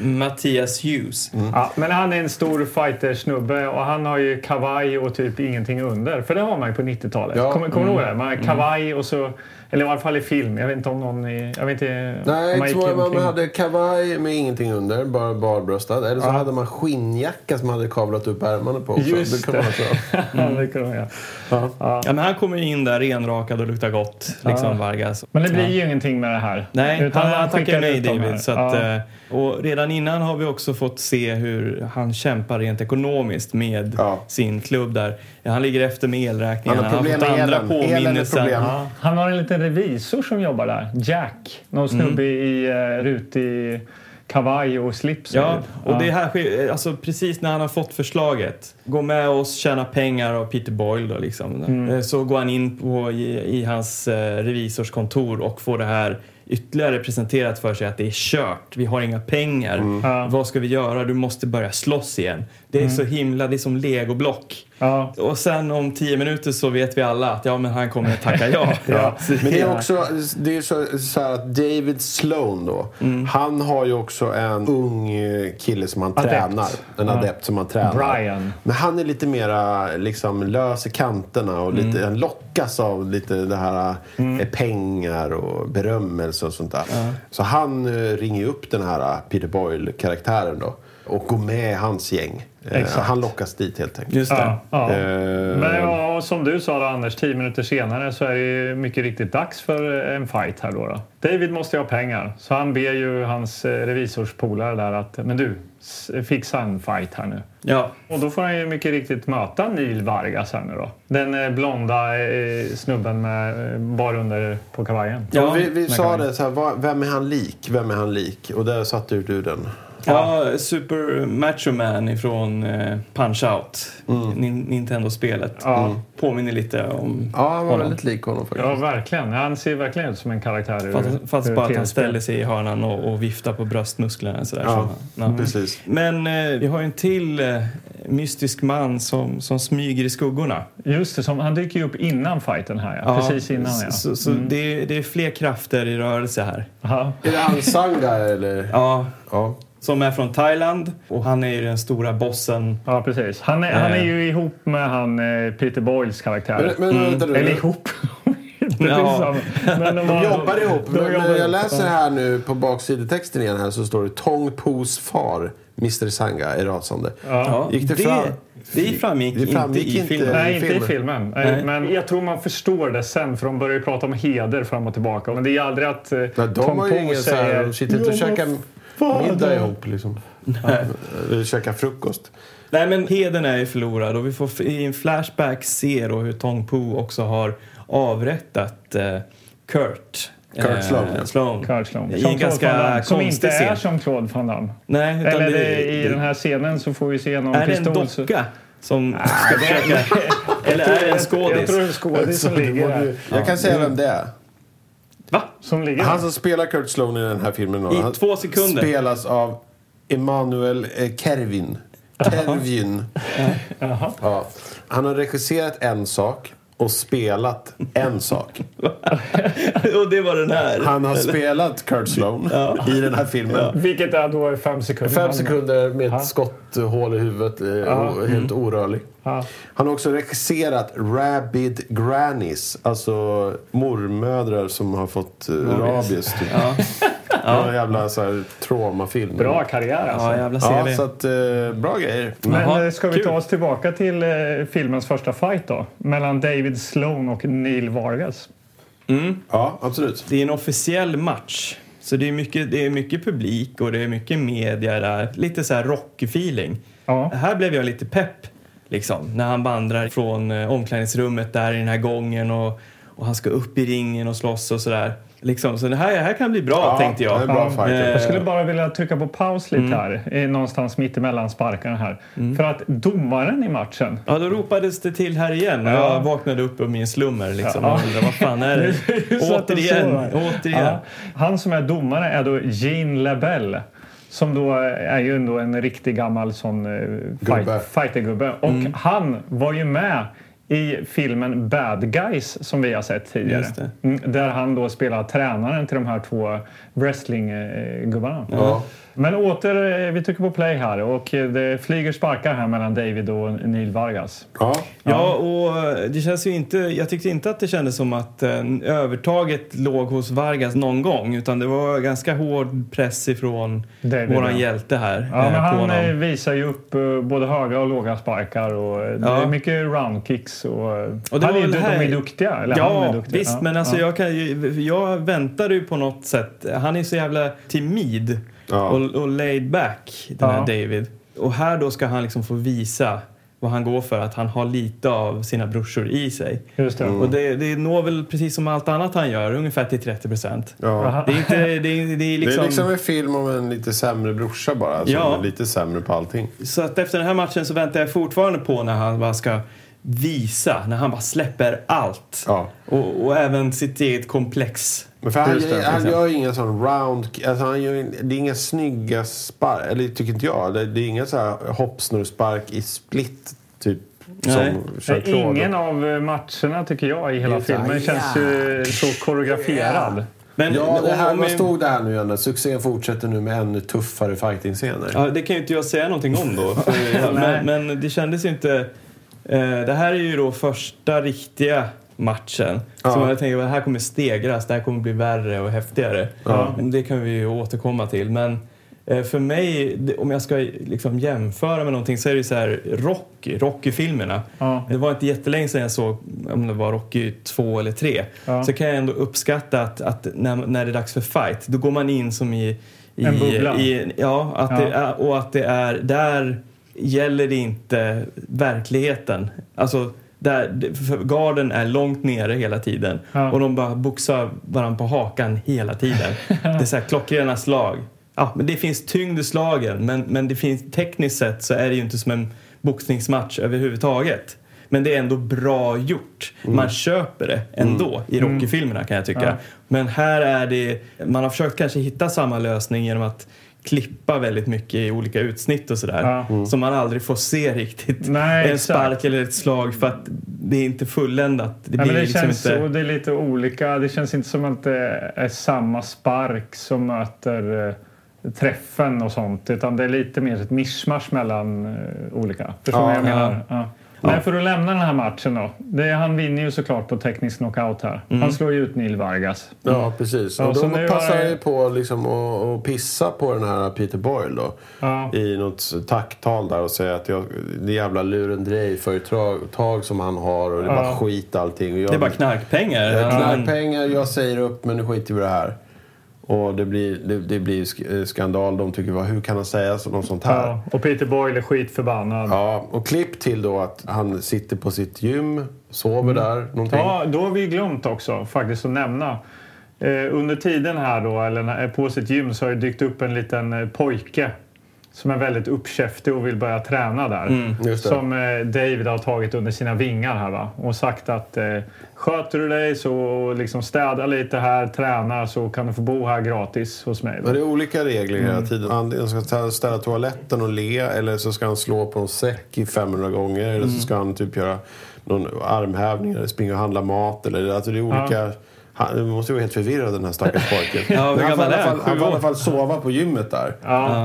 B: Mattias Hughes.
A: Ja, men han är en stor fightersnubbe och han har ju kavaj och typ ingenting under. För det har man ju på 90-talet.
C: Ja. mm.
A: Kommer kommer du ihåg det? Man har kavaj och så... Eller i alla fall i film. Jag vet inte om någon i... Jag vet inte... om
C: Nej,
A: man
C: man,
A: gick
C: man, man
A: omkring-
C: hade kavaj med ingenting under, bara barbröstad. Eller så hade man skinnjacka som man hade kavlat upp ärmarna på. också.
A: Just
C: det. Kan man
A: det.
C: också.
A: [laughs] Ja, det kunde man göra.
B: Ja, men han kommer in där renrakad och luktar gott, liksom Vargas.
A: Men det blir ju ingenting med det här.
B: Nej, han, han
A: skickar
B: tackar nej
A: ut dem här.
B: David. Så att, eh, Och redan innan har vi också fått se hur han kämpar rent ekonomiskt med
C: Ja.
B: sin klubb där. Han ligger efter med elräkningen.
C: Han har problem med elen. Elen är problem.
A: Ja, han har en liten revisor som jobbar där. Jack.
B: Mm.
A: Någon snubbe i eh, rutig kavaj och slips.
B: Ja, och det här sker alltså, precis när han har fått förslaget. Gå med oss, tjäna pengar av Peter Boyle då liksom.
A: Mm.
B: Eh, Så går han in på, i, i hans eh, revisors kontor och får det här ytterligare presenterat för sig att det är kört. Vi har inga pengar.
A: Ja.
B: Vad ska vi göra? Du måste börja slåss igen. Det är så himla, det är som legoblock.
A: Mm. Ja.
B: Och sen om tio minuter så vet vi alla att ja men han kommer att tacka ja.
A: [laughs] Ja.
B: Så-
C: Men det är också det är så, så här att David Sloan då,
A: Mm.
C: han har ju också en ung eh, kille som han
A: Adept.
C: tränar. En adept som han tränar.
A: Brian.
C: Men han är lite mera liksom, lös i kanterna och
A: Mm.
C: lite, han lockas av lite det här eh, pengar och berömmelse och sånt där. Så han eh, ringer ju upp den här eh, Peter Boyle-karaktären då och går med i hans gäng. Eh,
A: Exakt.
C: Han lockas dit helt enkelt.
B: Just det.
A: Ja, ja.
C: Eh,
A: Men ja, och som du sa då, Anders, tio minuter senare så är det ju mycket riktigt dags för eh, en fight här då. då. David måste ju ha pengar, så han ber ju hans eh, revisorspolare där att men du, s- fixa en fight här nu.
B: Ja.
A: Och då får han ju mycket riktigt möta Neil Vargas här nu då. Den eh, blonda eh, snubben med eh, bar under på kavajen.
B: Ja.
C: Ja, vi vi sa
A: kan
C: det så här, vad, vem är han lik? Vem är han lik? Och där satte ju du den.
B: Ja, Super Macho Man ifrån eh, Punch-Out,
C: Mm.
B: Nin- Nintendo-spelet. Mm. Påminner lite om...
C: Ja, han var väldigt lik honom faktiskt.
A: Ja, verkligen. Han ser verkligen ut som en karaktär ur
B: Fast, fast
A: ur
B: bara att han
A: TV-spel.
B: ställer sig i hörnan och, och viftar på bröstmusklerna. Sådär,
C: Ja,
B: som han- ja.
C: Precis.
B: Men eh, vi har ju en till eh, mystisk man som, som smyger i skuggorna.
A: Just det, som, han dyker ju upp innan fighten här, ja.
B: Ja, Mm.
A: precis innan.
B: s-
A: Ja.
B: Så, så det, är- det är fler krafter i rörelse här.
A: Ja.
C: Är det han Sanga eller?
B: Ja,
C: Ja.
B: som är från Thailand och han är ju den stora bossen.
A: Ja, precis. Han är,
B: Eh.
A: han är ju ihop med han eh, Peter Boyles karaktär.
C: Men, men vänta nu.
A: Eller ihop. [laughs] Inte
B: Ja.
A: tillsammans. Men de,
C: De jobbar ihop.
A: de
C: Men,
A: jobbar
C: men jag
A: ihop.
C: läser här nu på baksidetexten igen här så står det Tong Pos far, Mr Sanga, är rasande.
B: Ja,
C: Gick det fram?
B: Det framgick,
C: Det framgick
B: inte i
C: inte.
B: filmen.
A: Nej,
C: i
A: inte i
C: filmen.
A: filmen. Eh,
B: Nej.
A: Men jag tror man förstår det sen, för de börjar ju prata om heder fram och tillbaka. Men det är ju aldrig att eh,
C: Nej, de
A: Tom
C: har ju
A: Poe
C: ingen så här, de sitter inte och
A: "Ja, vad
C: käkar
A: fan,
C: middag
A: de-
C: ihop liksom. Eller käkar frukost.
B: Nej men heden är ju förlorad och vi får f- i en flashback se då hur Tong Po också har avrättat eh, Kurt.
C: Kurt
B: eh,
C: Sloan, ja.
B: Sloan.
A: Carl Sloan.
B: I
A: Som Claude Van
B: en ganska
A: Damme, Som inte
B: konstig
A: är
B: scen.
A: som Claude van Damme.
B: Nej, utan
A: Eller
B: det,
A: det, i den här scenen så får vi se någon
B: är det en
A: pistol. så-
B: docka som ska försöka... Eller är det en
A: Jag
B: skådis? [laughs]
A: tror det är en
C: [laughs]
A: skådis som ligger där.
C: Jag kan säga vem det är.
B: Va?
A: Som ligger
C: Han
A: där.
C: som spelar Kurt Sloan i den här filmen.
B: I
C: han
B: två sekunder.
C: Spelas av Emanuel eh, Kervin. Kervin. Ja. Han har regisserat en sak och spelat en sak.
B: och det var den här.
C: Han har spelat Kurt Sloan i den här filmen.
A: Vilket är då i fem sekunder.
C: Fem sekunder med ett skotthål i huvudet, eh, och helt
B: Mm.
C: orörlig.
A: Ja.
C: Han har också regisserat Rabid Grannies, alltså mormödrar som har fått eh, rabies. Typ. [laughs] Någon jävla så här, traumafilm.
A: Bra karriär alltså.
B: Ja, jävla Mm.
C: Ja,
B: CV.
C: så att, eh, bra grejer.
A: Men
B: Jaha,
A: eh, ska vi
B: kul.
A: ta oss tillbaka till eh, filmens första fight då? Mellan David Sloan och Neil Vargas.
C: Ja, absolut.
B: Det är en officiell match. Så det är, mycket, det är mycket publik och det är mycket media där. Lite så här rock-feeling.
A: Ja.
B: Här blev jag lite pepp. Liksom, när han vandrar från eh, omklädningsrummet där i den här gången och, och han ska upp i ringen och slåss och sådär. Liksom, så det här, här kan bli bra, tänkte
C: Ja,
B: jag. eh,
C: det är en bra
A: Ja.
C: fighter.
A: Jag skulle bara vilja trycka på paus lite
B: Mm.
A: här, eh, någonstans mitt emellan sparkarna här. För att domaren i matchen,
B: Ja, då ropades det till här igen och
A: Ja.
B: jag vaknade upp ur min slummer liksom,
A: Ja.
B: och undrade vad fan är det?
A: Så att de
B: återigen,
A: sover.
B: återigen.
A: Ja. Han som är domare är då Jean Labelle. Som då är ju ändå en riktig gammal sån eh,
C: Gubbe.
A: fight, fightergubbe. Och han var ju med i filmen Bad Guys som vi har sett tidigare.
B: Just det.
A: Mm, Där han då spelar tränaren till de här två wrestlinggubbarna.
C: Ja.
A: Men åter, eh, vi trycker på play här och eh, det flyger sparkar här mellan David och Neil Vargas.
C: Ja.
B: Ja, och eh, det känns ju inte, jag tyckte inte att det kändes som att eh, övertaget låg hos Vargas någon gång utan det var ganska hård press ifrån
A: David,
B: våran
A: ja.
B: hjälte här.
A: Ja,
B: eh,
A: men
B: på
A: han
B: honom.
A: eh, visar ju upp eh, både höga och låga sparkar och eh, det
B: Ja.
A: är mycket roundkicks. Och, eh,
B: Och det
A: han är,
B: var
A: ju-
B: väl
A: de
B: här-
A: är duktiga. Eller han är
B: Ja,
A: duktig.
B: visst,
A: Ja,
B: men alltså
A: ja.
B: jag, kan ju, jag väntade ju på något sätt. Han är så jävla timid
C: Ja.
B: och, och laid back, den här
A: Ja.
B: David. Och här då ska han liksom få visa vad han går för, att han har lite av sina brorsor i sig.
A: Just det.
B: Och det, det når väl precis som allt annat han gör, ungefär till 30 procent.
C: Ja.
B: Det är inte, det är, det är
C: Det
B: liksom,
C: är liksom en film om en lite sämre brorsa bara. Som
B: Ja.
C: är lite sämre på allting.
B: Så att efter den här matchen så väntar jag fortfarande på när han bara ska visa, när han bara släpper allt.
C: Ja.
B: Och, och även sitt eget komplex.
C: Men för han,
B: Just det,
C: han
B: exakt.
C: gör ju inga sån round... Alltså han gör, ju- det är inga snygga spark. Eller tycker inte jag. Det, det är inga så här hoppsnurrspark i split. Typ
B: Nej.
C: som
A: Nej,
C: Jean-Claude.
A: Ingen av eh, matcherna tycker jag i hela filmen känns ju så koreograferad.
B: Men
C: Ja, det här,
B: om-
C: vad stod det här nu igen? Succén fortsätter nu med ännu tuffare fighting-scener.
B: Ja, det kan ju inte jag säga någonting om [laughs] då. För, men, men det kändes ju inte... Eh, det här är ju då första riktiga matchen. Så jag tänker att det här kommer stegras, det här kommer bli värre och häftigare. Men Det kan vi ju återkomma till. Men eh, för mig, det- om jag ska liksom jämföra med någonting så är det ju så här Rocky, Rocky-filmerna.
A: Ja.
B: Det var inte jättelänge sedan jag såg om det var Rocky 2 eller 3.
A: Ja.
B: Så kan jag ändå uppskatta att, att när, när det är dags för fight, då går man in som i... i
A: En bubbla.
B: I, Ja, att
A: Ja.
B: Det är, och att det är... Där gäller det inte verkligheten. Alltså, där, för garden är långt nere hela tiden
A: Ja.
B: och de bara boxar varandra på hakan hela tiden. det är så här klockrena slag. Ja, men det finns tyngd i slagen men, men det finns, tekniskt sett så är det ju inte som en boxningsmatch överhuvudtaget. Men det är ändå bra gjort.
A: Mm.
B: Man köper det ändå i Rocky-filmerna kan jag tycka. Men här är det... Man har försökt kanske hitta samma lösning genom att klippa väldigt mycket i olika utsnitt och sådär. Mm.
A: Ja.
B: Som man aldrig får se riktigt.
A: Nej,
B: en
A: exakt.
B: spark eller ett slag för att det är inte fulländat. Det
A: Ja,
B: blir
A: men det
B: liksom
A: känns
B: inte...
A: och det är lite olika. Det känns inte som att det är samma spark som möter eh, träffen och sånt utan det är lite mer ett mischmasch mellan eh, olika. Förstår du vad jag
B: Ja.
A: menar? Ja. Men för att lämna den här matchen då. Det, han vinner ju såklart på teknisk knockout här.
B: Mm.
A: Han slår ju ut Neil Vargas.
C: Ja, precis.
A: Ja,
C: och
A: så
C: då
A: nu
C: passar
A: har-
C: jag ju på liksom att, att pissa på den här Peter Boyle då.
A: Ja.
C: I något tacktal där och säga att jag, det jävla lurendrejföretag som han har och det är bara skit allting. Och jag,
B: Det är bara knarkpengar.
C: Jag
B: Ja,
C: knark
B: men-
C: pengar, Eh, jag säger upp men nu skiter vi i det här. Och det blir, det, det blir sk- eh, skandal. De tycker bara, hur kan han säga så- något sånt här?
A: Ja. Och Peter Boyle är skitförbannad. Ja.
C: Ja, och klipp till då att han sitter på sitt gym, sover där någonting.
A: då har vi glömt också faktiskt att nämna. Eh, under tiden här då, eller när- på sitt gym, så har det dykt upp en liten eh, pojke som är väldigt uppkäftig och vill börja träna där.
C: just det.
A: Som eh, David har tagit under sina vingar här va? och sagt att eh, sköter du dig så liksom städa lite här, träna så kan du få bo här gratis hos mig.
C: Men det är olika regler
B: Mm.
C: hela tiden. Antingen ska han ställa toaletten och le eller så ska han slå på en säck i 500 gånger. Eller
B: Mm.
C: så ska han typ göra någon armhävning eller springa och handla mat. Eller, alltså det är olika... Han det måste ju vara helt förvirrad den
B: [laughs]
C: här stackars pojken. Men han, får
B: gammal
C: i alla
B: är han? Sju
C: fall, han får i alla
B: år?
C: fall sova på gymmet där.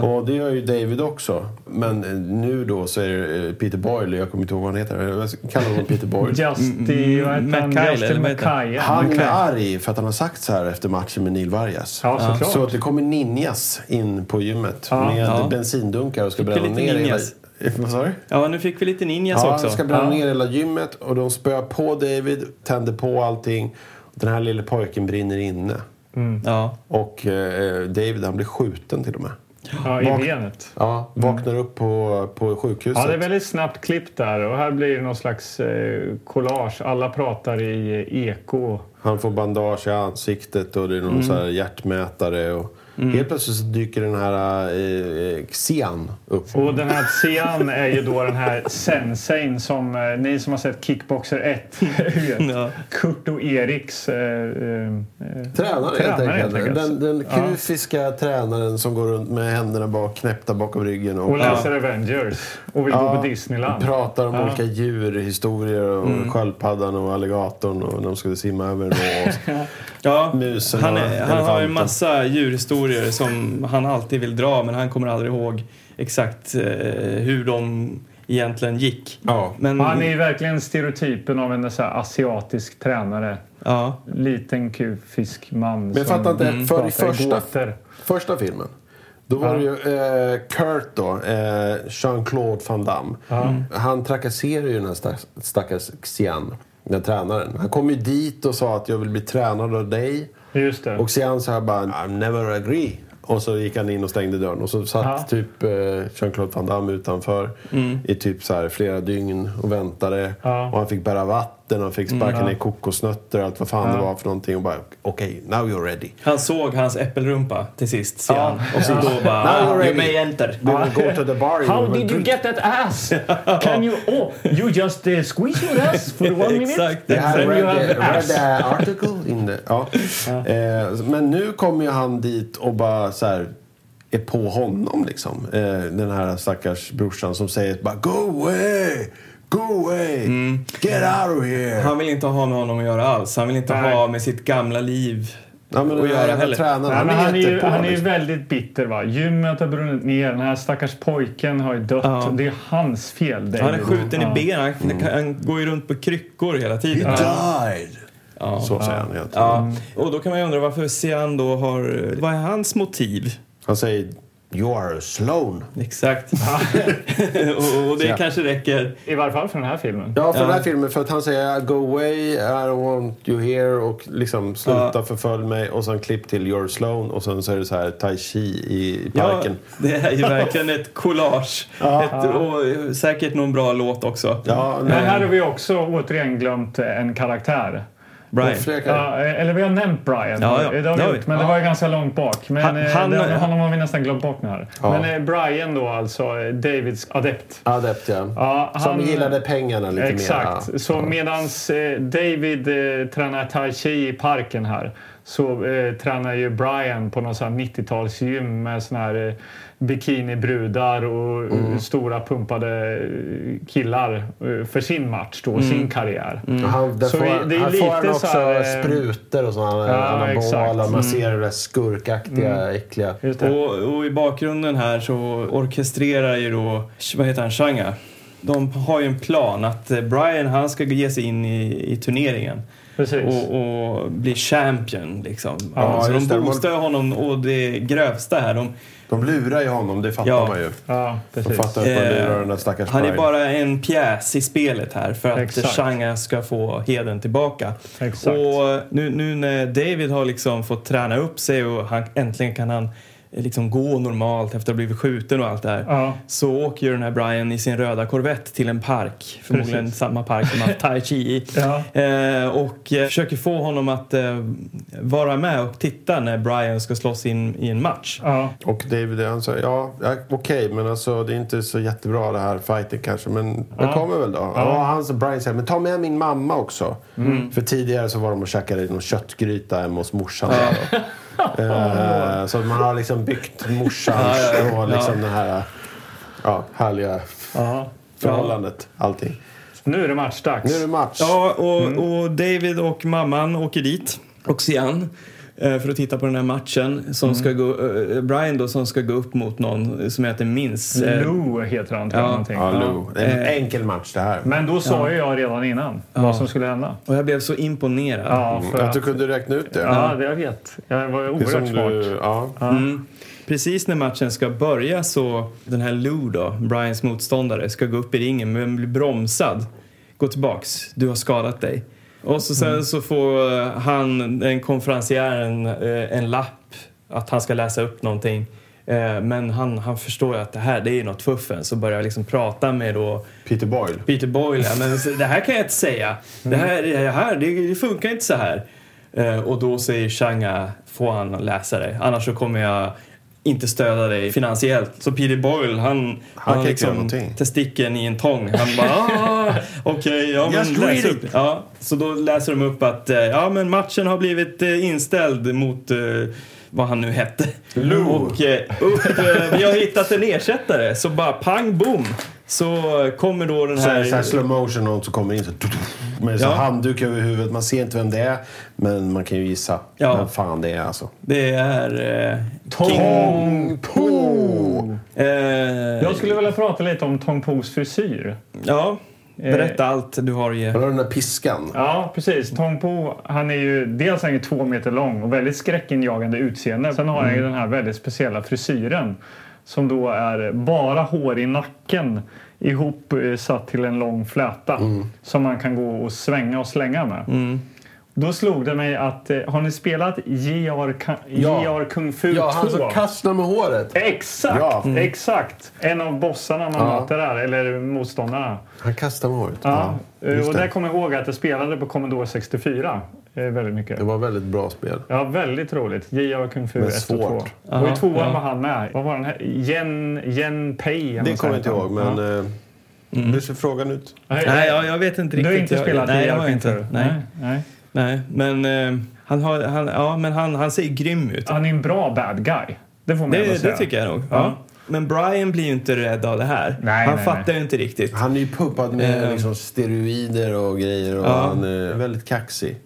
C: Och det gör ju David också. Men eh, nu då så är det eh, Peter Boyle, jag kommer inte ihåg vad han heter. Jag kallar honom Peter Boyle.
A: Justy, vad heter han?
B: Mackay, eller
A: Justin
B: vad heter han?
A: Mackay.
C: Han är arg för att han har sagt så här efter matchen med Neil Vargas.
A: Ja, såklart.
C: Så att det kommer ninjas in på gymmet med
B: Ja.
C: bensindunkar och ska
B: Fick vi
C: bränna
B: lite
C: ner hela...
B: ninjas?
C: [laughs] Vad sa du?
B: Ja, nu fick vi lite ninjas
C: Ja,
B: också.
C: de ska bränna ner hela gymmet och de spöar på David, tänder på allting. Den här lille pojken brinner inne.
B: Ja.
C: Och eh, David han blir skjuten till och med.
A: Ja, I benet.
C: Ja, vaknar upp på, på sjukhuset.
A: Mm. Ja, det är väldigt snabbt klipp där och här blir det någon slags eh, collage. Alla pratar i eh, eko.
C: Han får bandage i ansiktet och det är någon
A: Mm.
C: så här hjärtmätare. Och Helt plötsligt så dyker den här eh, eh, Xian upp.
A: Och den här Xian är ju då den här sensein som eh, ni som har sett Kickboxer [laughs] 1 vet.
B: Ja.
A: Kurt och Eriks eh, eh, eh, Tränare,
C: Tränare, helt
A: helt
C: enkelt.
A: enkelt.
C: Den, den kufiska tränaren som går runt med händerna bak, knäppta bakom ryggen och,
A: och läser Avengers och vill gå på Disneyland.
C: pratar om olika djurhistorier och sköldpaddan
A: [laughs]
C: och alligatorn och när de skulle simma över en ås.
B: Ja,
C: Musen
B: han,
C: och
B: är, han har ju
C: elefanten.
B: massa historier som han alltid vill dra men han kommer aldrig ihåg exakt eh, hur de egentligen gick.
C: Ja.
B: Men,
A: Han är ju verkligen stereotypen av en så här asiatisk tränare.
B: ja,
A: Liten kufisk man
C: Men jag fattar inte,
A: som
C: för i
A: pratar
C: första-
A: gåtor.
C: Första filmen. Då var det ju eh, Kurt då, eh, Jean-Claude Van Damme.
A: Mm.
C: Han trakasserade ju den här stack, stackars Xian, den här tränaren. Han kom ju dit och sa att jag vill bli tränad av dig.
A: Just det.
C: Och Xian så här bara, I never agree. Och så gick han in och stängde dörren och så satt
A: Ja. Mm.
C: typ eh, Jean-Claude Van Damme utanför i typ så här flera dygn och väntade.
A: Ja. Mm,
C: Och han fick bära vatten, han fick sparka ner kokosnötter och allt vad fan det var för någonting. Och bara, okej, now you're ready.
B: han såg hans äppelrumpa till sist, ser han. Och så då bara...
C: Now you're
B: "Ah, you
C: ready."
B: may enter.
C: We will go to the bar.
A: How
C: we will
A: did you
C: drink.
A: get that ass? Can you... Oh, you just eh, squeeze your ass for one minute?
B: Exakt.
C: Jag har
A: Then you have
C: read,
A: the
C: read
A: ass.
C: the article [laughs] in the... Ja. Eh, men nu kommer ju han dit och bara så här är på honom liksom. Eh, den här stackars brorsan som säger bara Go away! Go away! Get out of here!
B: Han vill inte ha med honom att göra alls. Han vill inte
A: Nej.
B: ha med sitt gamla liv
C: ja, men den
B: att
C: här
B: göra
C: jävla
B: heller.
C: tränaren,
A: Nej,
C: han
A: men han, är ju,
C: på
A: han är ju
C: liksom.
A: väldigt bitter. Va? Gymmet har brunnit ner. Den här stackars pojken har ju dött.
B: Ja.
A: Det är hans fel. David.
B: Han är skjuten
A: Ja.
B: i benen. Han, han går ju runt på kryckor hela tiden.
C: He died! liksom. Så säger han helt
B: Ja. Och då kan man ju undra varför Sian då har... Vad är hans motiv?
C: Han säger You are a Sloan.
B: Exakt. [laughs] och, och det
C: Ja.
B: kanske räcker.
A: I varje fall för den här filmen.
C: Ja, för den här filmen. För att han säger Go away, I don't want you here och liksom sluta förfölj mig. Och sen klipp till You're Sloan och sen så är det så här tai chi i, i
B: Ja,
C: parken.
B: det är ju verkligen ett collage. Ett, och säkert någon bra låt också.
C: Ja,
A: Men
C: nej.
A: här har vi också återigen glömt eh, en karaktär.
B: Brian.
A: Ja, eh, eller vi har nämnt Brian.
B: Ja, ja.
A: Det har vi
B: Det har
A: gjort,
B: vi.
A: men det var ju ganska långt bak. Men
B: Han-
A: han,
B: han-
A: den, honom har vi nästan glömt bort nu här. Men eh, Brian då alltså, eh, Davids adept.
C: Adept, ja.
A: Ja,
C: Som
A: han-
C: gillade pengarna lite mer.
A: Exakt. Så medans eh, David eh, tränar tai chi i parken här så eh, tränar ju Brian på någon sån här 90-talsgym med sån här eh, bikinibrudar och eh,
C: Mm.
A: stora pumpade eh, killar eh, för sin match då,
C: Mm.
A: sin karriär.
C: Ja. Han, där
A: Mm. Så
C: får,
A: vi-
C: han-
A: det är
C: här får han
A: lite
C: också
A: så här, eh,
C: sprutor och sådana
A: ja, exakt.
C: anabola.
A: Mm.
C: Man ser det där skurkaktiga, äckliga.
A: Just det.
B: Och, och i bakgrunden här så orkestrerar ju då, vad heter han, Shanga. De har ju en plan att eh, Brian han ska ge sig in i, i turneringen.
A: Precis.
B: och, och bli champion. Liksom.
C: Ja,
B: så de
C: just det.
B: boostar ju honom och det grövsta här. De,
C: De lurar ju honom, det fattar
B: Ja.
C: man ju.
A: ja,
C: De
A: precis.
C: fattar att man
B: Eh,
C: lurar den där stackars
B: han är
C: Brian.
B: bara en pjäs i spelet här för att
A: Exakt.
B: Changa ska få heden tillbaka.
A: Exakt.
B: Och eh, nu, nu när David har liksom fått träna upp sig och han, äntligen kan han eh, liksom gå normalt efter att ha blivit skjuten och allt det här.
A: Ja.
B: Så åker ju den här Brian i sin röda Corvette till en park, förmodligen
A: Precis.
B: samma park som
A: [laughs]
B: han haft tai chi i.
A: Ja.
B: Eh, och eh, försöker få honom att eh, vara med och titta när Brian ska slåss in i en match.
A: Ja,
C: Och David han sa, ja, ja okej, men alltså det är inte så jättebra det här fighten kanske, men det kommer väl då. Ja. han sa, Brian säger, men ta med min mamma också. För tidigare så var de och käkade någon köttgryta hemma hos morsan. där då. [laughs] Eh, så man har liksom byggt morsans och liksom den här ja, härliga
A: ja.
C: förhållandet. Allting.
A: Nu är det matchdags.
C: Nu är det match.
B: Ja, och, och David och mamman åker dit och Sian eh, för att titta på den här matchen. Som ska gå, eh, Brian då som ska gå upp mot någon som jag inte minns. eh,
A: Lou heter han, tror
B: Ja.
A: jag. någonting.
C: Ja, Lou. Det är en
B: Eh.
C: enkel match det här.
A: Men då sa ju jag redan innan vad som skulle hända.
B: Och jag blev så imponerad.
A: Ja, för
C: Att
A: att,
C: du kunde räkna ut det.
A: ja, det jag vet. Jag var
C: Mm. Det är
A: oerhört
C: som
A: smart.
C: du, ja.
B: Precis när matchen ska börja så den här Lou då, Brians motståndare, ska gå upp i ringen men blir bromsad. Gå tillbaks, du har skadat dig. Och så sen så får eh, han, den konferencieren, eh, en lapp att han ska läsa upp någonting. Eh, Men han, han förstår ju att det här, det är ju något fuffens så börjar liksom prata med då
C: Peter Boyle.
B: Peter Boyle, ja, men så- det här kan jag inte säga. Det här, det här det, det funkar inte så här. Eh, och då säger Changa, får han läsa det? Annars så kommer jag inte stödja dig finansiellt. Så Peter Boyle, han, han,
C: kan
B: har
C: inte göra
B: liksom
C: någonting.
B: testikeln i en tång. Han
C: [laughs]
B: bara, "Ah, okej, ja men
C: Just
B: läs
C: read
B: upp. Ja, så då läser de upp att eh, ja, men matchen har blivit eh, inställd mot eh, vad han nu hette. Lou. Och eh, upp, eh, vi har hittat en ersättare. Så bara pang bom. Så kommer då den
C: Så är
B: här...
C: det så här slow motion och någon som kommer in så... med så
B: Ja.
C: handduk över huvudet. Man ser inte vem det är, men man kan ju gissa
B: Ja.
C: vem fan det är. Alltså.
B: Det är... Eh,
A: Tong Po!
B: eh,
A: Jag skulle vilja prata lite om Tong Pos frisyr.
B: ja,
A: Eh.
B: berätta allt du har att ge.
C: Har du den där piskan?
A: Ja, precis. Tong Po, han är ju dels han är ju två meter lång och väldigt skräckinjagande utseende. Sen har han
C: Mm.
A: ju den här väldigt speciella frisyren som då är bara hår i nacken ihop eh, satt till en lång fläta
C: Mm.
A: som man kan gå och svänga och slänga med. Då slog det mig att, eh, har ni spelat JR, Ka-
C: Ja.
A: JR Kung Fu 2?
C: Ja, han som kastar med håret.
A: Exakt!
C: Ja. Mm.
A: Exakt! En av bossarna man möter där, eller motståndarna.
C: Han kastar med håret.
A: Ja. eh,
C: Ja, just
A: och där
C: det.
A: kommer jag ihåg att jag spelade på Commodore 64 eh, väldigt mycket.
C: Det var väldigt bra spel.
A: Ja, väldigt roligt. J.R. Kung Fu
C: Men
A: 1 och 2.
C: svårt.
A: Och i tvåan
B: ja.
A: var han med. Vad var den här? Jen, Jen Pei? eller
C: Det
A: något
C: kommer jag
A: sånt.
C: inte ihåg, men...
A: Ja.
C: Eh, Hur ser frågan ut?
B: Nej, jag, jag vet inte
A: Du
B: riktigt.
A: har inte
B: jag,
A: spelat
B: Nej, jag
A: J.R.
B: har
A: Kung
B: inte.
A: Fu?
B: Nej,
A: nej.
B: nej. Men, eh, han, har, han, ja, men han, han ser grym ut.
A: Han är en bra bad guy. Det får man ändå
B: Det,
A: säga.
B: det tycker jag nog. Ja.
A: Ja.
B: Men Brian blir ju inte rädd av det här.
A: Nej,
B: han
A: nej,
B: fattar
A: nej.
B: ju inte riktigt.
C: Han är ju pumpad med
B: Eh.
C: liksom steroider och grejer och han eh, är väldigt kaxig.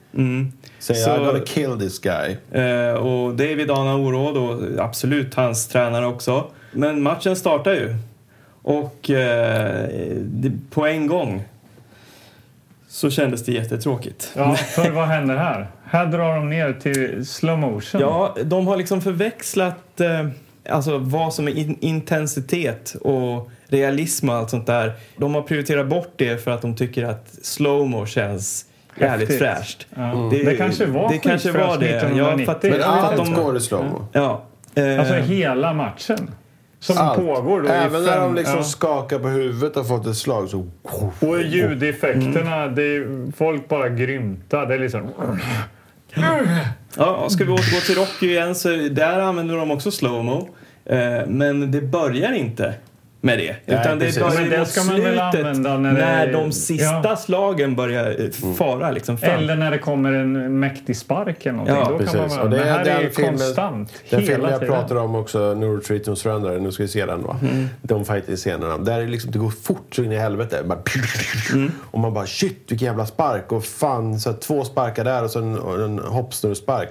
C: Säger
B: Så-
C: I'm gonna kill this guy.
B: Eh, och David anar oråd och absolut hans tränare också. Men matchen startar ju. Och eh, det, på en gång så kändes det jättetråkigt.
A: Ja, för vad händer här? Här drar de ner till slow motion.
B: Ja, de har liksom förväxlat eh, alltså vad som är in- intensitet och realism och allt sånt där. De har prioriterat bort det för att de tycker att slowmo känns jävligt
A: Häftigt.
B: fräscht.
A: Ja. Det kanske var
B: det kanske
A: skitfräscht
B: var det.
A: 1990.
B: Ja, för att, det-
C: Men
A: vet
B: för att
C: allt
B: de,
C: går i slowmo.
B: Ja. Eh,
A: Alltså hela matchen. Som
C: Allt.
A: pågår då
C: Även
A: i
C: när
A: fem...
C: de liksom
A: ja.
C: skakar på huvudet och fått ett slag så...
A: Och ljudeffekterna, det är, folk bara grymtar. Det är liksom...
B: Ja, ska vi återgå till Rocky igen så där använder de också slowmo. Eh, men det börjar inte med det. Utan det
C: precis.
B: börjar
A: Men det
B: mot
A: ska man väl
B: slutet
A: använda när
B: när,
A: det-
B: de sista
A: Ja.
B: slagen börjar eh, fara liksom fram.
A: Eller när det kommer en mäktig spark eller någonting.
B: Ja,
A: då kan man
C: Precis.
A: vara,
C: Och det
A: Men
C: är
A: här är
C: den
A: ju
C: filmen,
A: konstant.
C: den
A: hela
C: filmen jag
A: tiden.
C: pratar om också, Neuro Treat and Surrender. Nu ska vi se den va. De fighting-scenerna. Där är det liksom, det går fort så in i helvete. Bara, Och man bara shit vilken jävla spark. Och fan, så här, två sparkar där och så en, och en hoppsnurrspark.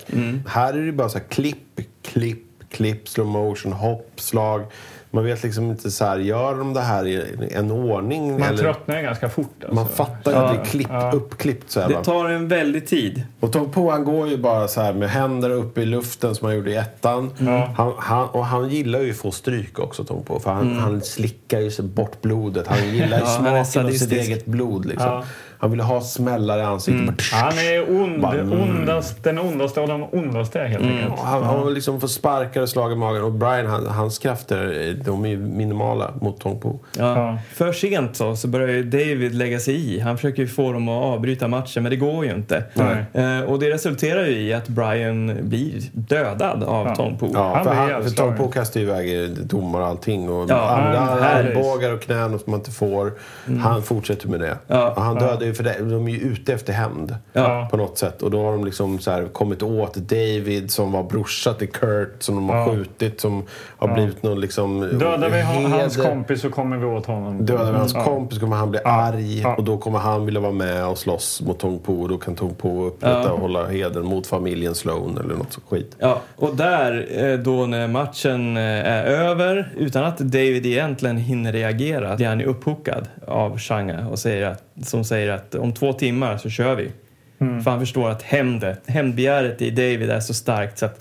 C: Här är det bara så här klipp, klipp, klipp, slow motion, hopp, slag. Man vet liksom inte så här, gör de det här i en ordning?
A: Man
C: eller?
A: tröttnar ju ganska fort. Alltså.
C: Man fattar ju att det är klipp, uppklippt så här, va?
B: Det tar en väldig tid.
C: Och Tom Poe han går ju bara så här med händer uppe i luften som han gjorde i ettan. Han, han, och han gillar ju att få stryk också Tom Poe. För han, han slickar ju sig bort blodet. Han gillar ju
B: Ja, han är
C: smaken av sitt
B: sadistisk.
C: eget blod liksom. Han vill ha smällar i ansiktet. Bara-
A: Han är ond,
C: Bara, mm.
A: ondast, den ondaste av de ondaste helt enkelt.
C: Och Han, han liksom får sparkar och slag i magen. Och Brian, han, hans krafter, eh, de är ju minimala mot Tom Poe.
B: Ja.
A: Ja.
B: För sent så, så börjar ju David lägga sig i. Han försöker ju få dem att avbryta matchen, men det går ju inte.
A: Nej.
B: Eh, och det resulterar ju i att Brian blir dödad av
A: Ja.
B: Tom Poe.
C: Ja,
A: Han
C: för
A: blir
C: han, för
A: jävligt
C: Tom
A: slagen.
C: Poe kastar ju iväg eh, domar och allting. Och
B: Ja,
C: andra
A: han-
C: armbågar och knän och som man inte får.
A: Mm.
C: Han fortsätter med det.
B: Ja.
C: och han dödar ju för det, de är ju ute efter hämnd.
B: Ja.
C: På något sätt. Och då har de liksom så här kommit åt David som var brorsa till Kurt som de har skjutit. Som har blivit någon liksom...
A: Dödar vi hon- hans
C: heder.
A: kompis så kommer vi åt honom.
C: Dödar vi hans
A: Ja.
C: kompis kommer han bli arg och då kommer han vilja vara med och slåss mot Tong Po. Och då kan Tong Po upprätta och hålla heden mot familjen Sloan eller något sånt skit.
B: Ja, och där eh, då när matchen eh, är över, utan att David egentligen hinner reagera, blir han ju upphockad av Shanga och säger att, som säger att om två timmar så kör vi. För han förstår att hämnde, hämndbegäret i David är så starkt så att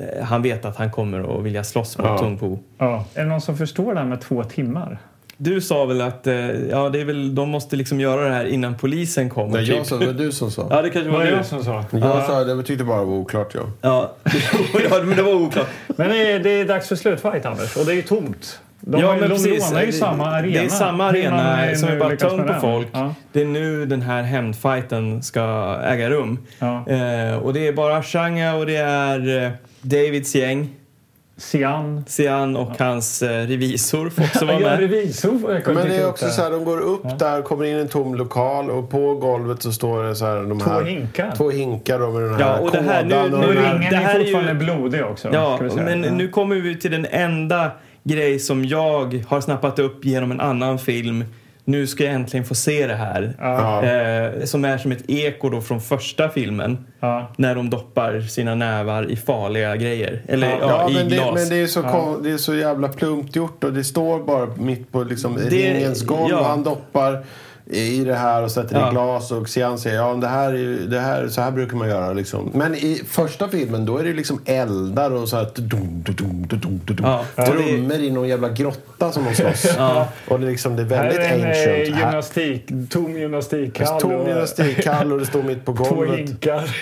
B: eh, han vet att han kommer att vilja slåss mot Tung Po.
A: Ja. Är det någon som förstår det här med två timmar?
B: Du sa väl att eh, ja, det är väl, de måste liksom göra det här innan polisen kommer?
C: Nej, jag
B: typ.
C: sa, det var du som sa.
B: Ja, det kanske var
A: Var det
B: du.
A: jag som sa?
C: Jag sa, det tyckte bara det var oklart jag.
B: Ja. [laughs] ja, men det var oklart.
A: Men det är, det är dags för slutfight, Anders. Och det är ju tomt. De,
B: ja,
A: har ju-
B: men
A: de
B: precis.
A: lånar ju
B: Det-
A: samma arena.
B: Det är samma
A: Hur man
B: arena som
A: nu
B: är bara
A: lyckas
B: tömd
A: med
B: på
A: den.
B: folk.
A: Ja.
B: Det är nu den här hämndfighten ska äga rum.
A: Ja.
B: Eh, och det är bara Shanga och det är eh, Davids gäng.
A: Sian.
B: Sian och hans eh, revisor får
A: [laughs]
B: också vara
A: Ja,
B: med.
A: revisor.
C: Men det är också så här, de går upp där, kommer in i en tom lokal och på golvet så står det så här, de
A: Två
C: här,
A: hinkar.
C: Två hinkar då med den här
B: Ja, och det här- nu-
C: kådan och
B: nu
A: Och
C: den här-
A: ringen
B: det här är
A: är
B: ju-
A: fortfarande blodig också.
B: Ja,
A: ska vi säga.
B: men
A: Ja.
B: nu kommer vi till den enda grej som jag har snappat upp genom en annan film nu ska jag äntligen få se det här. Eh, som är som ett eko då från första filmen.
A: Ja.
B: När de doppar sina nävar i farliga grejer. Eller ja,
C: Ja,
B: i
C: men, det,
B: glas.
C: men det, är så kon, det är så jävla plumpt gjort och det står bara mitt på liksom ringens golv
B: ja.
C: och han doppar i det här och sätter det
B: Ja.
C: i glas och Xian säger ja men det här, är ju- det här, så här brukar man göra liksom. Men i första filmen då är det ju liksom eldar och så här dum, dum, dum, dum, dum, dum.
B: Ja, och det-
C: trummor i någon jävla grotta som de slåss. Och det är, liksom, det
A: Här
C: är väldigt
A: är en eh,
C: ancient. Här-
A: gymnastik, tom gymnastikhall.
C: Tom
A: och-
C: gymnastikhall och det står mitt
A: [laughs]
C: på
A: Två
B: [laughs]
C: golvet.
A: hinkar.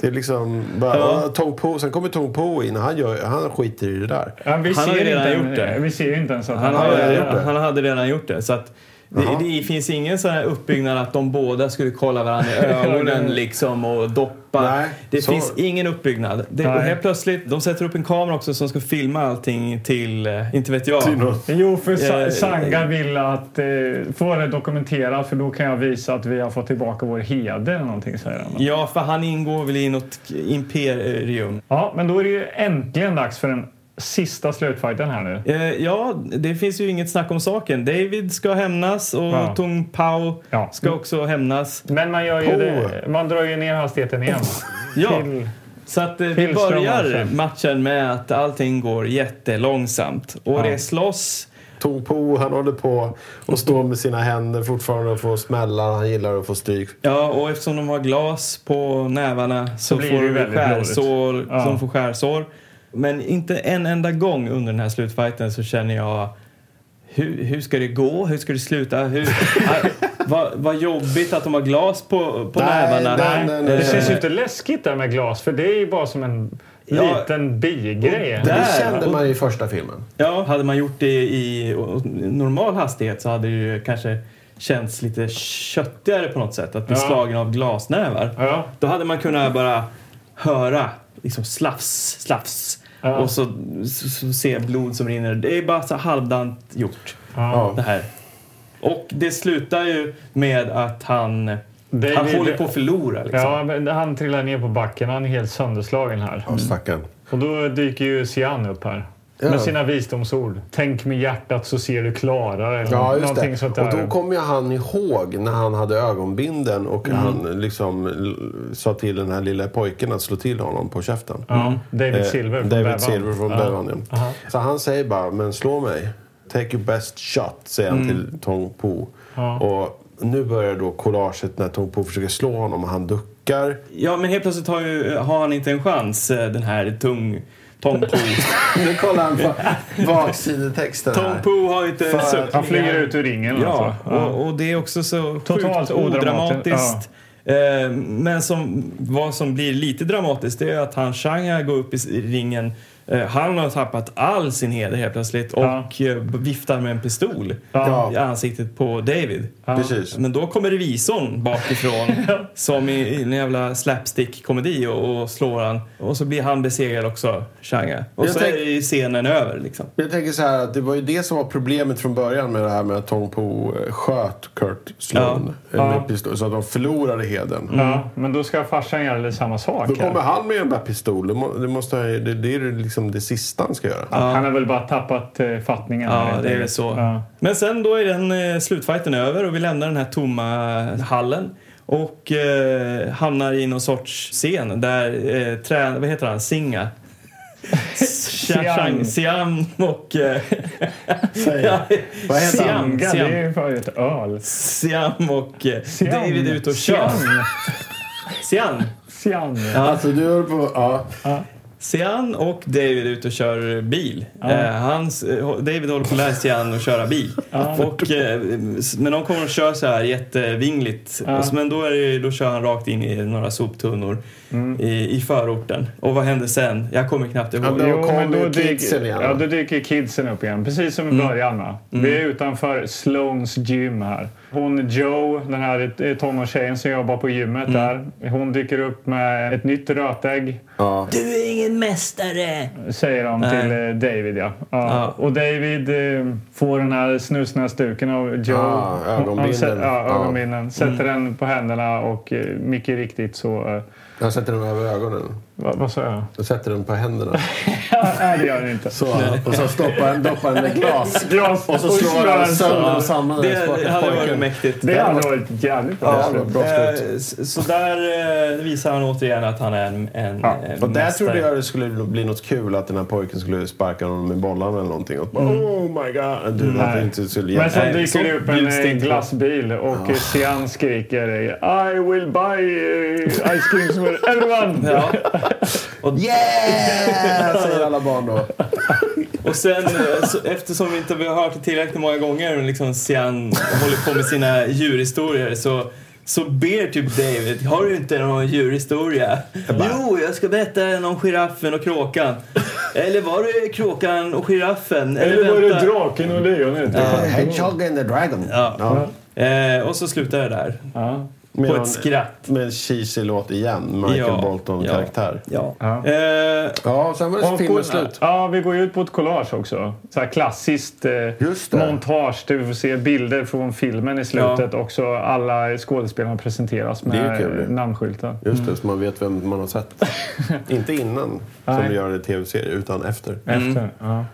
C: Det är liksom bara, ja. Tong Po, sen kommer Tong Po in och han, gör, han skiter i det där.
A: Ja, vi
B: Han
A: ser
B: har ju redan
A: inte en-
B: gjort det.
A: Vi ser ju inte ens att
B: Han,
A: har
B: hade,
A: det.
B: redan, han hade redan gjort det. Så att det, det finns ingen sån här uppbyggnad att de båda skulle kolla varandra
C: [laughs]
B: i ögonen liksom och doppa.
C: Nej,
B: det
C: så-
B: finns ingen uppbyggnad. Det, och
A: Nej.
B: helt plötsligt, de sätter upp en kamera också som ska filma allting till, eh, inte vet jag.
A: Jo, för Sa-
B: Eh,
A: Sanga vill att eh, få det dokumenterat för då kan jag visa att vi har fått tillbaka vår heder eller någonting, säger han.
B: Ja, för han ingår väl i något imperium.
A: Ja, men då är det ju äntligen dags för den sista slutfighten här nu.
B: Eh, ja, det finns ju inget snack om saken. David ska hämnas och
A: Ja.
B: Tung Pao
A: Ja.
B: ska också hämnas.
A: Men man, gör ju
C: Oh.
A: det, man drar ju ner hastigheten igen.
B: [laughs] Ja.
A: Till,
B: Så att eh, vi
A: Pilström
B: börjar
A: alltså.
B: matchen med att allting går jättelångsamt. Och det slåss.
C: Tog på, han håller på och står med sina händer fortfarande och får smällar. Han gillar att få stryk.
B: Ja, och eftersom de har glas på nävarna så,
A: blir
B: får
A: det ju
B: de
A: väldigt
B: skärsår.
A: Ja.
B: De får skärsår. Men inte en enda gång under den här slutfighten så känner jag hur, hur ska det gå? Hur ska det sluta? Hur, [laughs] Ah, vad, vad jobbigt att de har glas på, på
C: Nej,
B: nävarna.
C: nej, nej, nej.
A: det
B: Eh,
A: känns ju inte läskigt där med glas för det är ju bara som en
B: Ja.
A: liten bigrej.
B: där-
C: Det kände man ju i första filmen.
B: Ja, hade man gjort det i o- normal hastighet så hade det ju kanske känts lite köttigare på något sätt. Att bli
A: Ja.
B: slagen av glasnävar.
A: Ja.
B: Då hade man kunnat bara höra liksom slafs, slafs.
A: Ja.
B: Och så, så, så se blod som rinner. Det är bara så halvdant gjort.
A: Ja.
B: Det här. Och det slutar ju med att han,
A: Det-
B: han
A: det-
B: håller
A: det-
B: på att förlora. Liksom.
A: Ja, men han trillar ner på backen. Han är helt sönderslagen här.
C: Stackarn.
A: Och då dyker ju Sian upp här. Med sina visdomsord. Tänk med hjärtat så ser du klarare. eller
C: Ja, just
A: någonting
C: det.
A: Sånt där.
C: Och då kommer ju han ihåg när han hade ögonbinden och
A: Mm.
C: han liksom l- sa till den här lilla pojken att slå till honom på käften.
A: ja, David Silver
C: Eh,
A: från
C: David
A: Bevan.
C: Silver från
A: Ja.
C: Bevan, ja. Så han säger bara, men slå mig. Take your best shot, säger
A: Mm.
C: han till Tong Po. Och nu börjar då collaget när Tong Po försöker slå honom och han duckar.
B: Ja, men helt plötsligt har, ju, har han inte en chans, eh, den här tung...
A: [laughs]
B: Tom Po.
C: Nu kollar han på baksidetexten
B: Tom Po har ju inte...
C: För-
B: suck-
A: Han flyger ut ur ringen
B: Ja,
A: alltså.
B: och, och det är också så
A: Totalt
B: sjukt odramatiskt.
A: odramatiskt,
B: Eh, Men som, vad som blir lite dramatiskt det är att han Shanga går upp i s- i ringen. Eh, Han har tappat all sin heder helt plötsligt
A: Ja.
B: och eh, viftar med en pistol
A: Ja.
B: i ansiktet på David.
C: Precis.
B: Men då kommer
A: [laughs]
B: revisorn bakifrån som i, i en jävla slapstick-komedi och, och slår han. Och så blir han besegrad också, Shanga. Och
C: Jag
B: så
C: tänk-
B: är ju scenen över liksom.
C: Jag tänker så här att det var ju det som var problemet från början med det här med att Tong Po eh, sköt Kurt Sloan. eh, Med pistol, så att de förlorade heden.
A: Ja, men då ska farsan göra lite samma sak.
C: Då
A: här.
C: kommer han med en där pistol. Det, må, det, måste, han ju- det, det är ju liksom det sista han ska göra.
A: Han har väl bara tappat eh, fattningen. här,
B: Ja,
A: helt
B: det är väl
A: enkelt.
B: så.
A: Ja.
B: Men sen då är den eh, slutfighten över och vi lämnar den här tomma hallen och eh, hamnar i någon sorts scen där eh, trä, vad heter han, Singa Siam. Siam och... Eh,
A: Vad heter Siam,
B: Siam,
A: Det är
B: Siam,
A: ju för ett öl.
B: Siam och eh,
A: Siam.
B: David är ute och kör.
A: Siam.
B: Siam.
A: Siam.
C: Alltså du håller på... Ja.
B: Sian och David är ute och kör bil. Eh, hans, eh, David håller på att lära Sian att köra bil. och, eh, s- men de kommer och kör så här jättevingligt. Och så- Men då, är det, ju- då kör han rakt in i några soptunnor i, i förorten. Och vad hände sen? Jag kommer knappt ihåg.
C: men- Då
A: Jo, men
C: kommer
A: då
C: ju kidsen
A: dyker,
C: igen, Mm.
A: ja,
C: va?
A: då dyker kidsen upp igen. Precis som i början. Va? Vi är utanför Sloans gym här. Hon Joe, den här eh, tonårstjejen som jobbar på gymmet
C: Mm.
A: där. Hon dyker upp med ett nytt rötägg.
B: Du är ingen mästare!
A: Säger de
B: Nej.
A: till eh, David ja. ja.
B: Ja.
A: Och David eh, får den här snusnäsduken av Joe.
C: Ah, ögonbindeln.
A: Han sä- ja,
C: Ja. Mm.
A: ögonbindeln. Sätter den på händerna och eh, mycket riktigt så eh,
C: Jag sätter den över ögonen.
A: Vad, vad sa
C: [laughs]
A: jag?
C: Jag sätter den på händerna.
A: Nej, det gör den inte.
C: Så, och så stoppar, doppar den i glas.
A: Glas
C: Och så slår den sönder och samman den
B: Det
C: stackars
B: hade varit
C: pojken.
B: mäktigt.
A: Det hade varit jävligt bra.
C: Ja, bra, bra slut.
B: Eh, s- Så där eh, visar han återigen att han är en, en
A: Ja,
B: eh,
C: Och där
B: mästare.
C: trodde jag det skulle bli något kul att den här pojken skulle sparka honom med bollarna eller någonting. Och bara, Oh my god! Du, varför
A: Nej.
C: inte skulle
A: Men sen
B: Nej,
A: dyker det
B: så
A: upp en
B: bjuds det
A: eh,
B: inte på.
A: glassbil
C: Ah.
A: och eh, Sian skriker eh, I will buy eh, ice creams for everyone.
B: Ja.
C: Yeah! Säger alla barn då.
B: Och sen, eh, så, eftersom vi inte vi har hört det tillräckligt många gånger och liksom Sian håller på med sina djurhistorier så, så ber typ David, har du inte någon djurhistoria? Jo, jag ska berätta en om giraffen och kråkan. Eller var det kråkan och giraffen?
A: Eller var det
B: vänta.
A: draken och lejonet?
C: Hedgehog and the dragon.
B: Ja. Eh, och så slutar det där.
A: Ja.
B: På
C: Medan-
B: ett skratt.
C: Med en cheesy låt igen. Michael
B: Ja,
C: Bolton-karaktär. Ja.
B: Ja.
A: Ja.
B: Eh,
C: sen var det filmen slut.
A: Ja, vi går ju ut på ett collage också. Så här klassiskt eh,
C: Just det.
A: montage där vi får se bilder från filmen i slutet och så alla skådespelarna presenteras
C: är ju
A: med
C: kul, det.
A: eh, namnskyltar.
C: Just det, så man vet vem man har sett. Inte innan, som
A: Nej.
C: vi gör i tv-serier, utan efter.
A: Efter. Ja.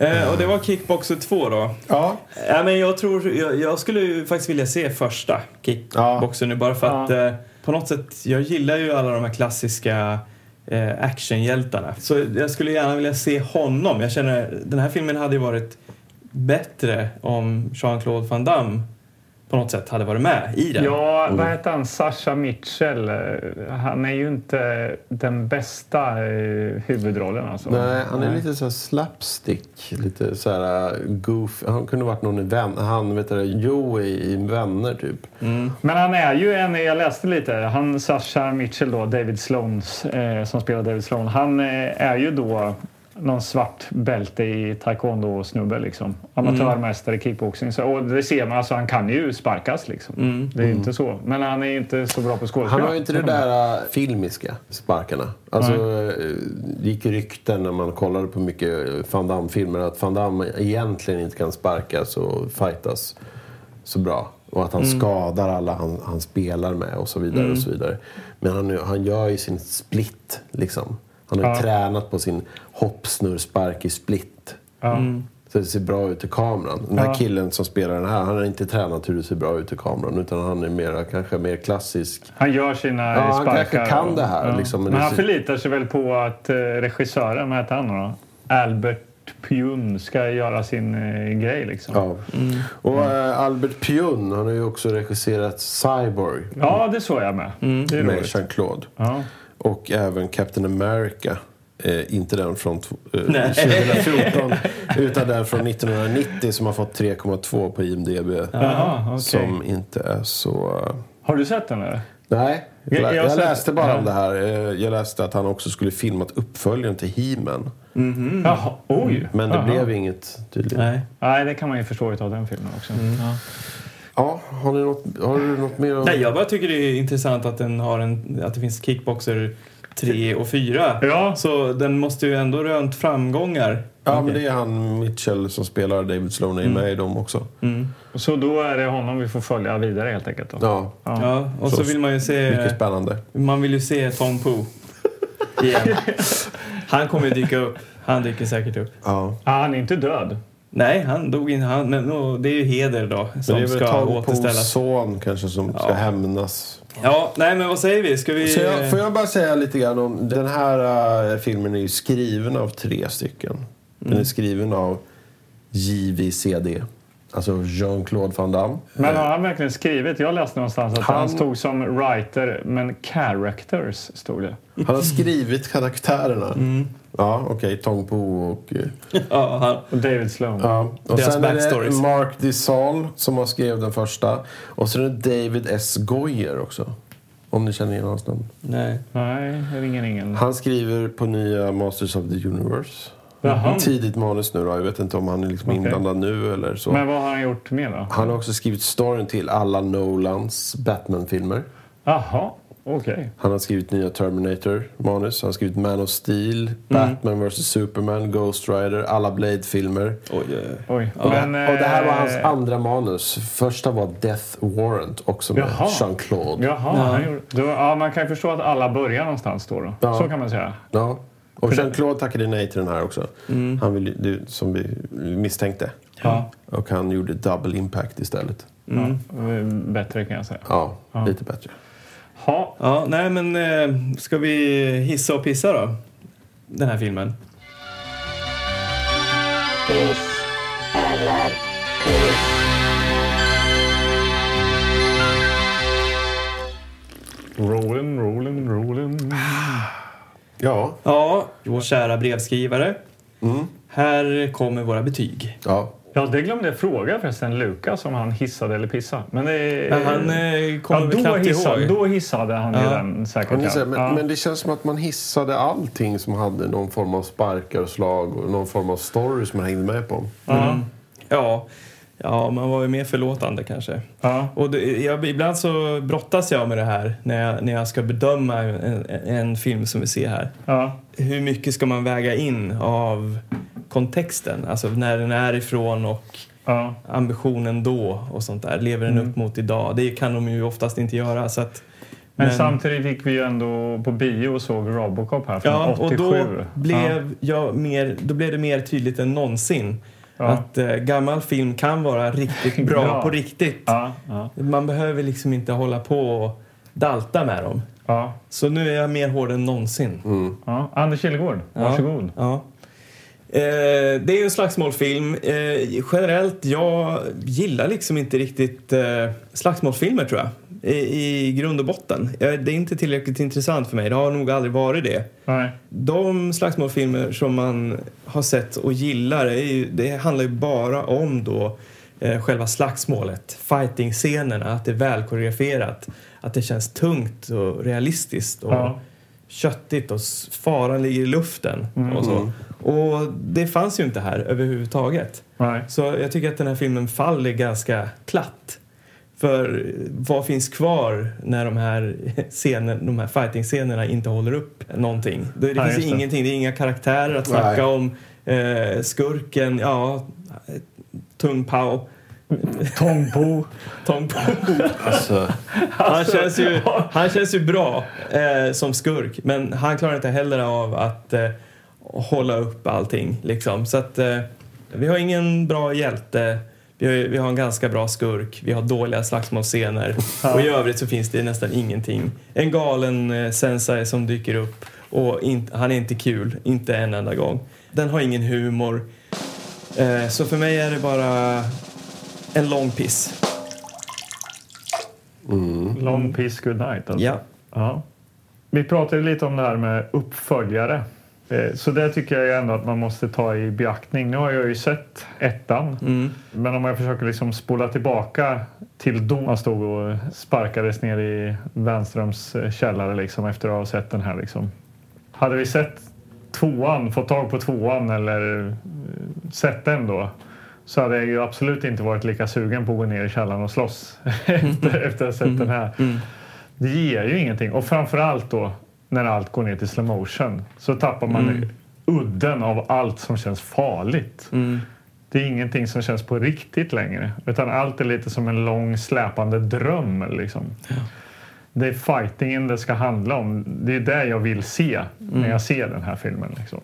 B: eh, och det var Kickboxer 2 då.
C: Ja.
B: Ja, men jag, tror, jag, jag skulle ju faktiskt vilja se första kickboxen nu bara för att eh, på något sätt, jag gillar ju alla de här klassiska eh, actionhjältarna. Så jag skulle gärna vilja se honom. Jag känner, den här filmen hade ju varit bättre om Jean-Claude Van Damme på något sätt hade varit med i den.
A: Ja, vad heter han? Sasha Mitchell. Eh, Han är ju inte den bästa eh, huvudrollen alltså.
C: Nej, han är lite så här slapstick. Lite så här äh, goof. Han kunde varit någon i vän, han, vet du, Joey i Vänner typ.
A: Men han är ju en, jag läste lite, han Sasha Mitchell då, David Sloans, eh, som spelar David Sloan, han eh, är ju då någon svart bälte i taekwondo-snubbe liksom. Amatörmästare i kickboxing. Så, och det ser man, alltså han kan ju sparkas liksom. Det är ju inte så. Men han är ju inte så bra på skådespel.
C: Mm. Han har ju inte det där äh, filmiska sparkarna. Alltså, äh, det gick rykten när man kollade på mycket äh, Van Damme-filmer att Van Damme egentligen inte kan sparkas och fightas så bra. Och att han
A: Mm.
C: skadar alla han, han spelar med och så vidare. och så vidare. Men han, nu- han gör ju sin split liksom. Han har ju
A: Ja.
C: tränat på sin hoppsnurrspark i split.
A: Ja.
C: Så det ser bra ut i kameran. Den här
A: Ja.
C: killen som spelar den här, han har inte tränat hur det ser bra ut i kameran. Utan han är mera, kanske mer klassisk.
A: Han gör sina
C: Ja, han
A: sparkar.
C: kanske kan
A: och-
C: det här, liksom, men
A: men
C: det
A: han
C: ser-
A: förlitar sig väl på att eh, regissören, vad heter han då? Albert Pyun ska göra sin eh, grej liksom.
C: Ja. Och
A: Mm.
C: eh, Albert Pyun, han har ju också regisserat Cyborg
A: Ja, det såg jag med. Det är
C: med
A: roligt.
C: Jean-Claude.
A: Ja.
C: Och även Captain America. Eh, inte den från tw- eh, [laughs]
B: Nej.
C: 2014, utan den från 1990 som har fått 3,2 på IMDB.
A: Jaha, okej.
C: Som inte är så... eh,
A: Har du sett den eller?
C: Nej, jag,
A: Jag-
C: lä-
A: jag
C: jag
A: har sett-
C: läste bara om
A: Ja.
C: det här. Eh, Jag läste att han också skulle filmat uppföljaren till He-Man.
A: Jaha, oj!
C: Men det
A: Jaha.
C: blev inget tydligen.
B: Nej.
A: Nej, det kan man ju förstå utav den filmen också.
C: Ja, har, ni något, har du något mer? att-
B: Nej, jag bara tycker det är intressant att, den har en, att det finns kickboxer 3 och 4.
A: Ja.
B: Så den måste ju ändå rönt framgångar.
C: Ja, men det är han Mitchell som spelar David Sloan är med i dem också.
A: Så då är det honom vi får följa vidare helt enkelt. Då.
C: Ja,
B: Ja, och så,
C: Så
B: vill man ju se...
C: mycket spännande.
B: Man vill ju se Tom Poo igen. [laughs] Han kommer ju dyka upp. Han dyker säkert upp.
C: Ja.
A: Ah, han är inte död.
B: Nej, han dog inte. Han, men och det är ju heder då
C: Men det
B: som
C: är väl
B: ska
C: Tom Poes
B: återställas.
C: son kanske som ska hämnas.
B: Ja, nej men vad säger vi? Ska vi...
C: Så jag, får jag bara säga lite grann om... Den här eh, filmen är ju skriven av tre stycken. Den är skriven av JVCD. Alltså Jean-Claude Van Damme.
A: Men har han verkligen skrivit? Jag läste någonstans att han,
C: Han-
A: stod som writer, men characters stod det.
C: Han har skrivit karaktärerna. Ja, okej. Tong Po och... eh,
B: Ja, han,
A: Och David Sloan.
C: Ja. Och
B: Deras
C: sen är det
B: backstories.
C: Mark DeSalle som har skrivit den första. Och sen är det David S. Goyer också. Om ni känner igen hans namn.
B: nej.
A: Nej, det ringer ingen.
C: Han skriver på nya Masters of the Universe. Mm.
A: Jaha.
C: Tidigt manus nu då. Jag vet inte om han är liksom inblandad nu eller så.
A: Men vad har han gjort mer då?
C: Han har också skrivit storyn till alla Nolans Batman-filmer.
A: Jaha. Okej.
C: Han har skrivit nya Terminator-manus. Han har skrivit Man of Steel, Batman vs Superman, Ghost Rider, alla Blade-filmer.
B: Oj, oj, oj.
A: Oj.
C: och det här var hans
A: eh,
C: andra manus. Första var Death Warrant, också med
A: Jaha.
C: Jean-Claude.
A: Jaha, han gjorde, då, ja, man kan ju förstå att alla börjar någonstans då. då.
C: Ja.
A: Så kan man säga.
C: Ja. Och Jean-Claude tackade nej till den här också.
A: Mm.
C: Han ville, du, som vi misstänkte.
B: Ja.
C: Och han gjorde Double Impact istället.
B: Mm.
A: Eh, Bättre kan jag säga.
C: Ja, lite bättre.
A: Ha,
B: ja, nej men eh, ska vi hissa och pissa då? Den här filmen.
A: rolling, rolling, rolling.
C: Ja,
B: Ja, vår kära brevskrivare. Mm. Här kommer våra betyg.
C: ja.
A: Ja, det glömde jag fråga förresten Lukas om han hissade eller pissade. Men det,
B: Men han eh,
A: ja,
B: kommer väl
A: då,
B: knappt
A: hissade,
B: ihåg.
A: då hissade han ju
B: Ja.
A: den säkert.
C: Men, det är
A: ja.
C: så här, men,
A: ja.
C: men det känns som att man hissade allting som hade någon form av sparkar och slag och någon form av story som man hängde med på.
B: Mm.
A: ja.
B: Ja. ja, man var ju mer förlåtande kanske.
A: Ja.
B: Och det, jag, ibland så brottas jag med det här när jag, när jag ska bedöma en, en film som vi ser här.
A: Ja.
B: Hur mycket ska man väga in av kontexten? Alltså när den är ifrån och
A: Ja.
B: ambitionen då och sånt där. Lever den
A: Mm.
B: upp mot idag? Det kan de ju oftast inte göra. Så att,
A: Men,
B: men-
A: samtidigt gick vi ju ändå på bio och såg Robocop här från
B: Ja,
A: 87.
B: och då
A: ja.
B: blev, jag mer, då blev det mer tydligt än någonsin
A: Ja.
B: att eh, gammal film kan
A: [laughs]
B: vara riktigt bra
A: Bra.
B: på riktigt.
A: Ja, ja,
B: Man behöver liksom inte hålla på och dalta med dem.
A: ja,
B: Så nu är jag mer hård än någonsin.
A: ja. Anders Killegård, varsågod.
B: Ja. Eh, det är ju en slagsmålfilm. Eh, generellt, jag gillar liksom inte riktigt eh, slagsmålsfilmer tror jag. I, I grund och botten. Eh, det är inte tillräckligt intressant för mig. Det har nog aldrig varit det.
A: Nej.
B: De slagsmålsfilmer som man har sett och gillar, är ju, det handlar ju bara om då eh, själva slagsmålet, fighting-scenerna, att det är välkoreograferat, att det känns tungt och realistiskt och
A: Ja.
B: köttigt och s- faran ligger i luften och så. Och det fanns ju inte här överhuvudtaget.
A: Nej.
B: Så jag tycker att den här filmen faller ganska platt. För vad finns kvar när de här, scenen, de här fighting-scenerna inte håller upp någonting? Det, det
A: Nej,
B: finns
A: just
B: ju
A: det.
B: ingenting, det är inga karaktärer att snacka om. Eh, skurken, ja, Tung Pao.
A: Tong Po.
B: Tom Pao.
A: Alltså,
B: han, känns ju, han känns ju bra eh, som skurk, men han klarar inte heller av att eh, hålla upp allting. Liksom. Så att, eh, vi har ingen bra hjälte, vi har, vi har en ganska bra skurk, vi har dåliga slagsmålscener och i övrigt så finns det nästan ingenting. En galen eh, sensei som dyker upp och in, han är inte kul, inte en enda gång. Den har ingen humor. Eh, så för mig är det bara en lång piss.
A: Long piss good night. Alltså.
B: Ja.
A: Ja. Vi pratade lite om det här med uppföljare. Eh, Så det tycker jag ändå att man måste ta i beaktning. Nu har jag ju sett ettan. Men om jag försöker liksom spola tillbaka till då man stod och sparkades ner i Wernströms eh, källare liksom, efter att ha sett den här. Liksom. Hade vi sett tvåan, fått tag på tvåan eller eh, sett den då så hade jag ju absolut inte varit lika sugen på att gå ner i källaren och slåss [laughs] efter, efter att ha sett den här. Det ger ju ingenting. Och framförallt då när allt går ner till slow motion så tappar man
B: Mm.
A: udden av allt som känns farligt.
B: Mm.
A: Det är ingenting som känns på riktigt längre. Utan allt är lite som en lång släpande dröm. Liksom. Det är fightingen det ska handla om. Det är det jag vill se
B: Mm.
A: när jag ser den här filmen. Liksom.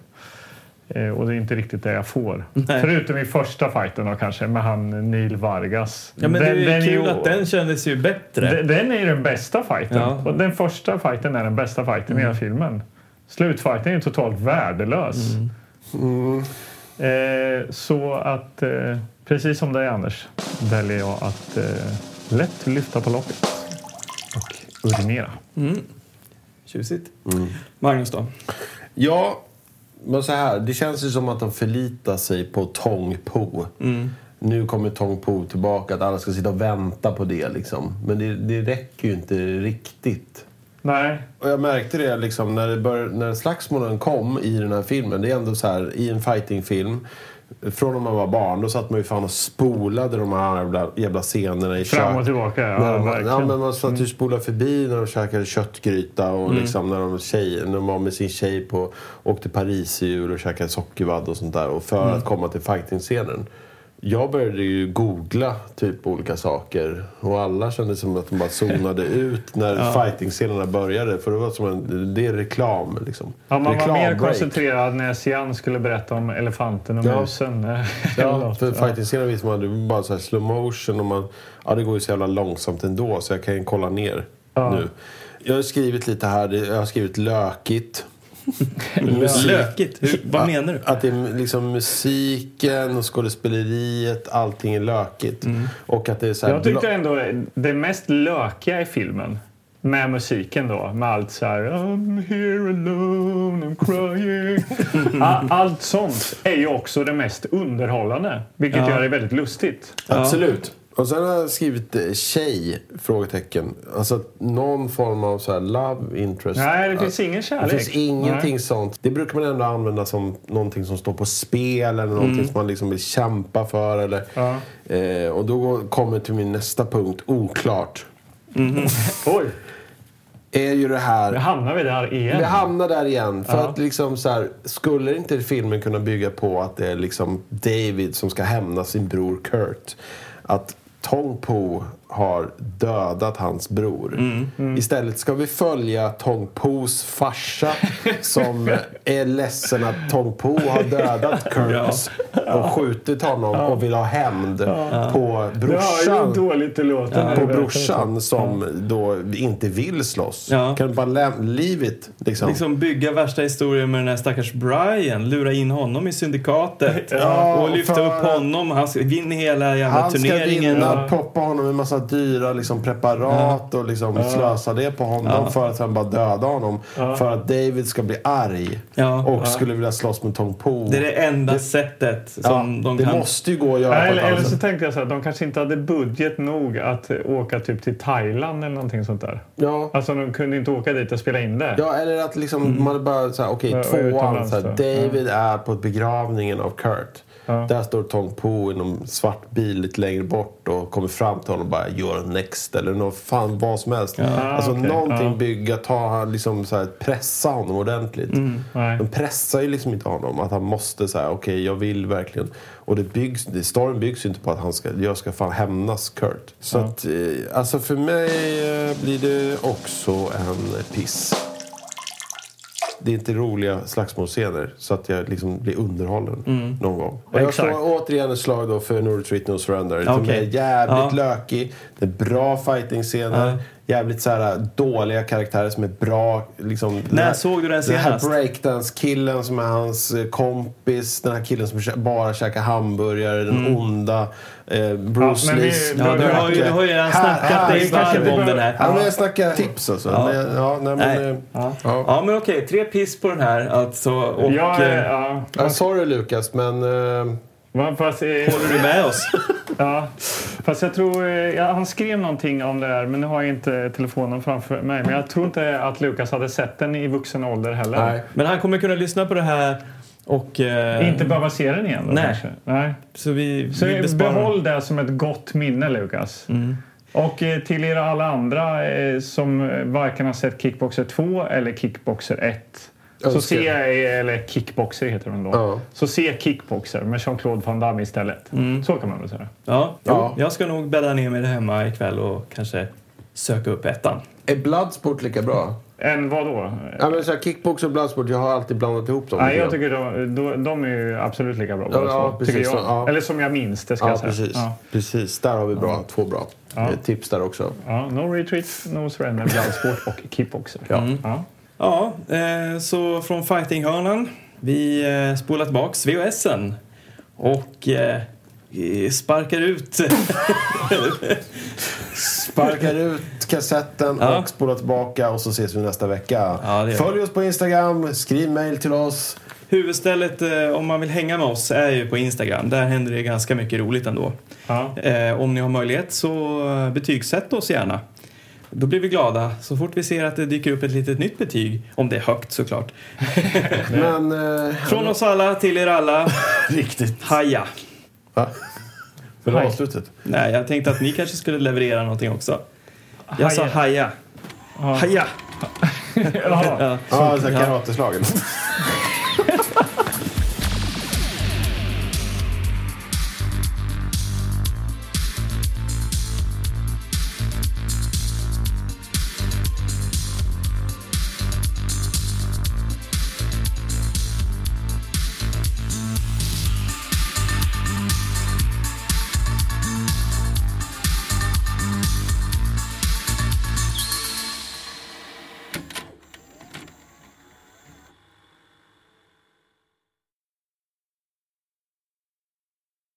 A: Eh, Och det är inte riktigt det jag får. Förutom i första fighten då kanske med han Neil Vargas.
B: Ja, men
A: Den-
B: det är ju
A: ju-
B: kul att den kändes ju bättre.
A: Den, den är ju den bästa fighten.
B: Ja.
A: Och den första fighten är den bästa fighten i
C: Mm.
A: hela filmen. Slutfighten är ju totalt värdelös.
C: Mm.
A: Mm. Eh, så att, eh, precis som dig Anders, väljer jag att eh, lätt lyfta på locket och urinera.
B: Tjusigt. Magnus då?
C: Ja, men så här. Det känns ju som att de förlitar sig på Tong Po. Nu kommer Tong Po tillbaka, att alla ska sitta och vänta på det. Liksom. Men det, det räcker ju inte riktigt.
A: Nej,
C: Och jag märkte det liksom när, det bör, när slagsmålen kom i den här filmen. Det är ändå så här, i en fightingfilm Från när man var barn, då satt man ju fan och spolade de här jävla, jävla scenerna i
A: Fram och
C: kök.
A: tillbaka, ja,
C: när de,
A: verkligen. Mm.
C: ja, men alltså man satt ju och spolade förbi när de käkade köttgryta och liksom när de, tjej, när de var med sin tjej på, åkte Paris i jul och käkade sockervadd och sånt där. Och för
A: Mm.
C: att komma till fighting-scenen. Jag började ju googla typ på olika saker och alla kände som att de bara
A: [laughs]
C: zonade ut när fighting-scenerna började. För det var som en, det är reklam liksom.
A: Ja, man var mer
C: Reklambreak.
A: koncentrerad när Sian skulle berätta om elefanten och
C: Ja.
A: musen. [laughs] Eller
C: Ja,
A: något.
C: för fighting-scenen visar man det var bara så här slow motion och man... Ja, det går ju så jävla långsamt ändå så jag kan ju kolla ner nu. Jag har skrivit lite här, det- jag har skrivit lökigt. Musik-
B: Lökigt? Hur, vad
C: Ja,
B: menar du?
C: Att det är liksom musiken och skådespeleriet, allting är lökigt. Och att det är så här...
A: Jag tyckte
C: bla-
A: ändå det mest lökiga i filmen med musiken då, med allt så här I'm here alone, I'm
C: [laughs]
A: crying. A- Allt sånt är ju också det mest underhållande, vilket gör det väldigt lustigt.
C: Absolut. Och sen har jag skrivit eh, tjej? Frågetecken. Alltså att någon form av så här love interest.
A: Nej, det
C: Att-
A: finns ingen
C: Det
A: kärlek.
C: finns ingenting
A: Nej.
C: sånt. Det brukar man ändå använda som någonting som står på spel eller någonting
A: Mm.
C: som man liksom vill kämpa för. Eller, eh, och då går- kommer till min nästa punkt, oklart.
A: Oj,
C: Är ju det
A: nu
C: här...
A: hamnar vi där igen.
C: Vi hamnar där igen. För att liksom så här, skulle inte filmen kunna bygga på att det är liksom David som ska hämna sin bror Kurt? Att Tong Po har dödat hans bror.
A: Mm,
C: Istället ska vi följa Tong Pos farsa
A: [laughs]
C: som är ledsen att Tong Po har dödat Kurt och skjutit honom och vill ha hämnd på
A: det hör ju hur
C: brorsan
A: dåligt det låter. när
C: på
A: du berättar
C: brorsan som då inte vill slåss.
B: Ja.
C: Kan du bara läm- leave it, liksom.
B: Liksom bygga värsta historien med den här stackars Brian, lura in honom i syndikatet
C: Ja,
B: och lyfta
C: för
B: upp
C: att-
B: honom. Han ska vinna hela jävla
C: Han ska
B: turneringen.
C: vinna, poppa honom med en massa dyra liksom, preparat och liksom, slösa det på honom för att sen bara döda honom. För att David ska bli arg
B: Ja.
C: och
B: Ja.
C: skulle vilja slåss med Tong Po.
B: Det är det enda sättet som
C: ja,
B: de
C: det
B: kan...
C: måste ju gå att göra
A: Nej,
C: på
A: Eller,
C: ett
A: eller
C: annat
A: så
C: sätt.
A: tänkte jag så här, de kanske inte hade budget nog att eh, åka typ till Thailand eller någonting sånt där.
C: Ja.
A: Alltså de kunde inte åka dit och spela in det.
C: Ja, eller att liksom, man bara såhär, okej,
A: Mm. Ja, och
C: tvåan.
A: utomlands
C: Så här,
A: då.
C: David är på begravningen av Kurt. Där står Tong Po i någon svart bil lite längre bort och kommer fram till honom och bara “You're next” eller något fan vad som helst. alltså
A: okej,
C: någonting
A: ja.
C: bygga, ta, han liksom så här, pressa honom ordentligt.
A: Mm, Nej.
C: De pressar ju liksom inte honom. Att han måste säga okej jag vill verkligen. Och det byggs, det- storyn byggs ju inte på att han ska, jag ska fan hämnas Kurt. Så att, eh, alltså för mig eh, blir det också en piss. Det är inte roliga slagsmålscener så att jag liksom blir underhållen
B: Mm.
C: någon gång. Och jag
A: Exakt.
C: slår återigen ett slag då för No Retreat No Surrender. Som
B: Okej.
C: är jävligt
B: Ja.
C: lökig. Det är bra fighting-scener.
B: Ja.
C: Jävligt så här, äh, dåliga karaktärer som är bra. Liksom,
B: När såg du den
C: Den
B: senast?
C: här breakdance-killen som är hans eh, kompis. Den här killen som kä- bara käkar hamburgare.
B: Mm.
C: Den onda eh, Bruce
A: men vi-
C: Lees
A: Ja,
B: Ja, du har ju, du har ju redan
C: Här-
B: snackat
C: här-
B: dig
A: kanske
B: varm
A: inte
B: om den här.
A: behöver-
C: Ja, men jag snackar tips alltså.
B: Ja.
C: Men, ja, nej, men,
B: Nej.
C: eh,
B: Ja.
C: ja.
B: Ja, men okej. Tre piss på den här alltså. Och
A: Ja, eh,
B: eh,
A: ja.
C: Ja, sorry Lukas, men... eh,
A: Men Fast, eh,
B: håller du med oss?
A: ja. Fast jag tror... eh, Ja, han skrev någonting om det där, men nu har jag inte telefonen framför mig. Men jag tror inte att Lukas hade sett den i vuxen ålder heller.
C: nej.
B: Men han kommer kunna lyssna på det här och... eh,
A: Inte behöva se den igen då
B: Nej.
A: kanske. Nej.
B: Så vi,
A: Så
B: vi besparar.
A: behåll det som ett gott minne, Lukas.
C: Mm.
A: Och eh, till er alla andra eh, som eh, varken har sett Kickboxer 2 eller Kickboxer 1 så
C: Önskar.
A: se, eller Kickboxer heter den då.
C: Ja.
A: Så se Kickboxer med Jean-Claude Van Damme istället.
C: Mm.
A: Så kan man väl säga.
B: Ja,
C: Ja.
B: jag ska nog bädda ner mig där hemma ikväll och kanske söka upp ettan.
C: Är Bloodsport lika bra?
A: Än vad då?
C: Ja, men så här, kickbox och Bloodsport, jag har alltid blandat ihop dem.
A: Nej,
C: lite
A: jag
C: grann.
A: tycker de, de, de är ju absolut lika bra
C: Ja,
A: båda
C: ja,
A: två,
C: precis,
A: tycker jag.
C: så, ja.
A: Eller som jag minns det ska
C: Ja,
A: jag säga.
C: precis.
A: Ja.
C: precis. Där har vi bra, två bra eh, tips där också.
A: Ja, no retreat, no
C: [laughs]
A: surrender, bloodsport och kickboxer. Mm. Ja.
B: Ja, eh, så från fightinghörnan. Vi eh, spolar tillbaks VHSen och eh, sparkar ut. [laughs]
C: Sparkar ut kassetten
B: Ja.
C: och spolar tillbaka och så ses vi nästa vecka.
B: Ja, det gör
C: Följ oss på Instagram, skriv mail till oss.
B: Huvudstället eh, om man vill hänga med oss är ju på Instagram. Där händer det ganska mycket roligt ändå.
A: Ja.
B: Eh, om ni har möjlighet så eh, betygsätt oss gärna. Då blir vi glada så fort vi ser att det dyker upp ett litet nytt betyg. Om det är högt såklart.
C: Men... [laughs] Eh,
B: Från oss alla till er alla.
K: Riktigt.
B: Haja!
C: va?
K: Det var avslutet.
B: Nej, jag tänkte att ni kanske skulle leverera någonting också. Jag sa
A: Haja.
B: haja. Haja!
A: Ja.
B: [laughs] Ja.
K: Ja, ah, karateslagen.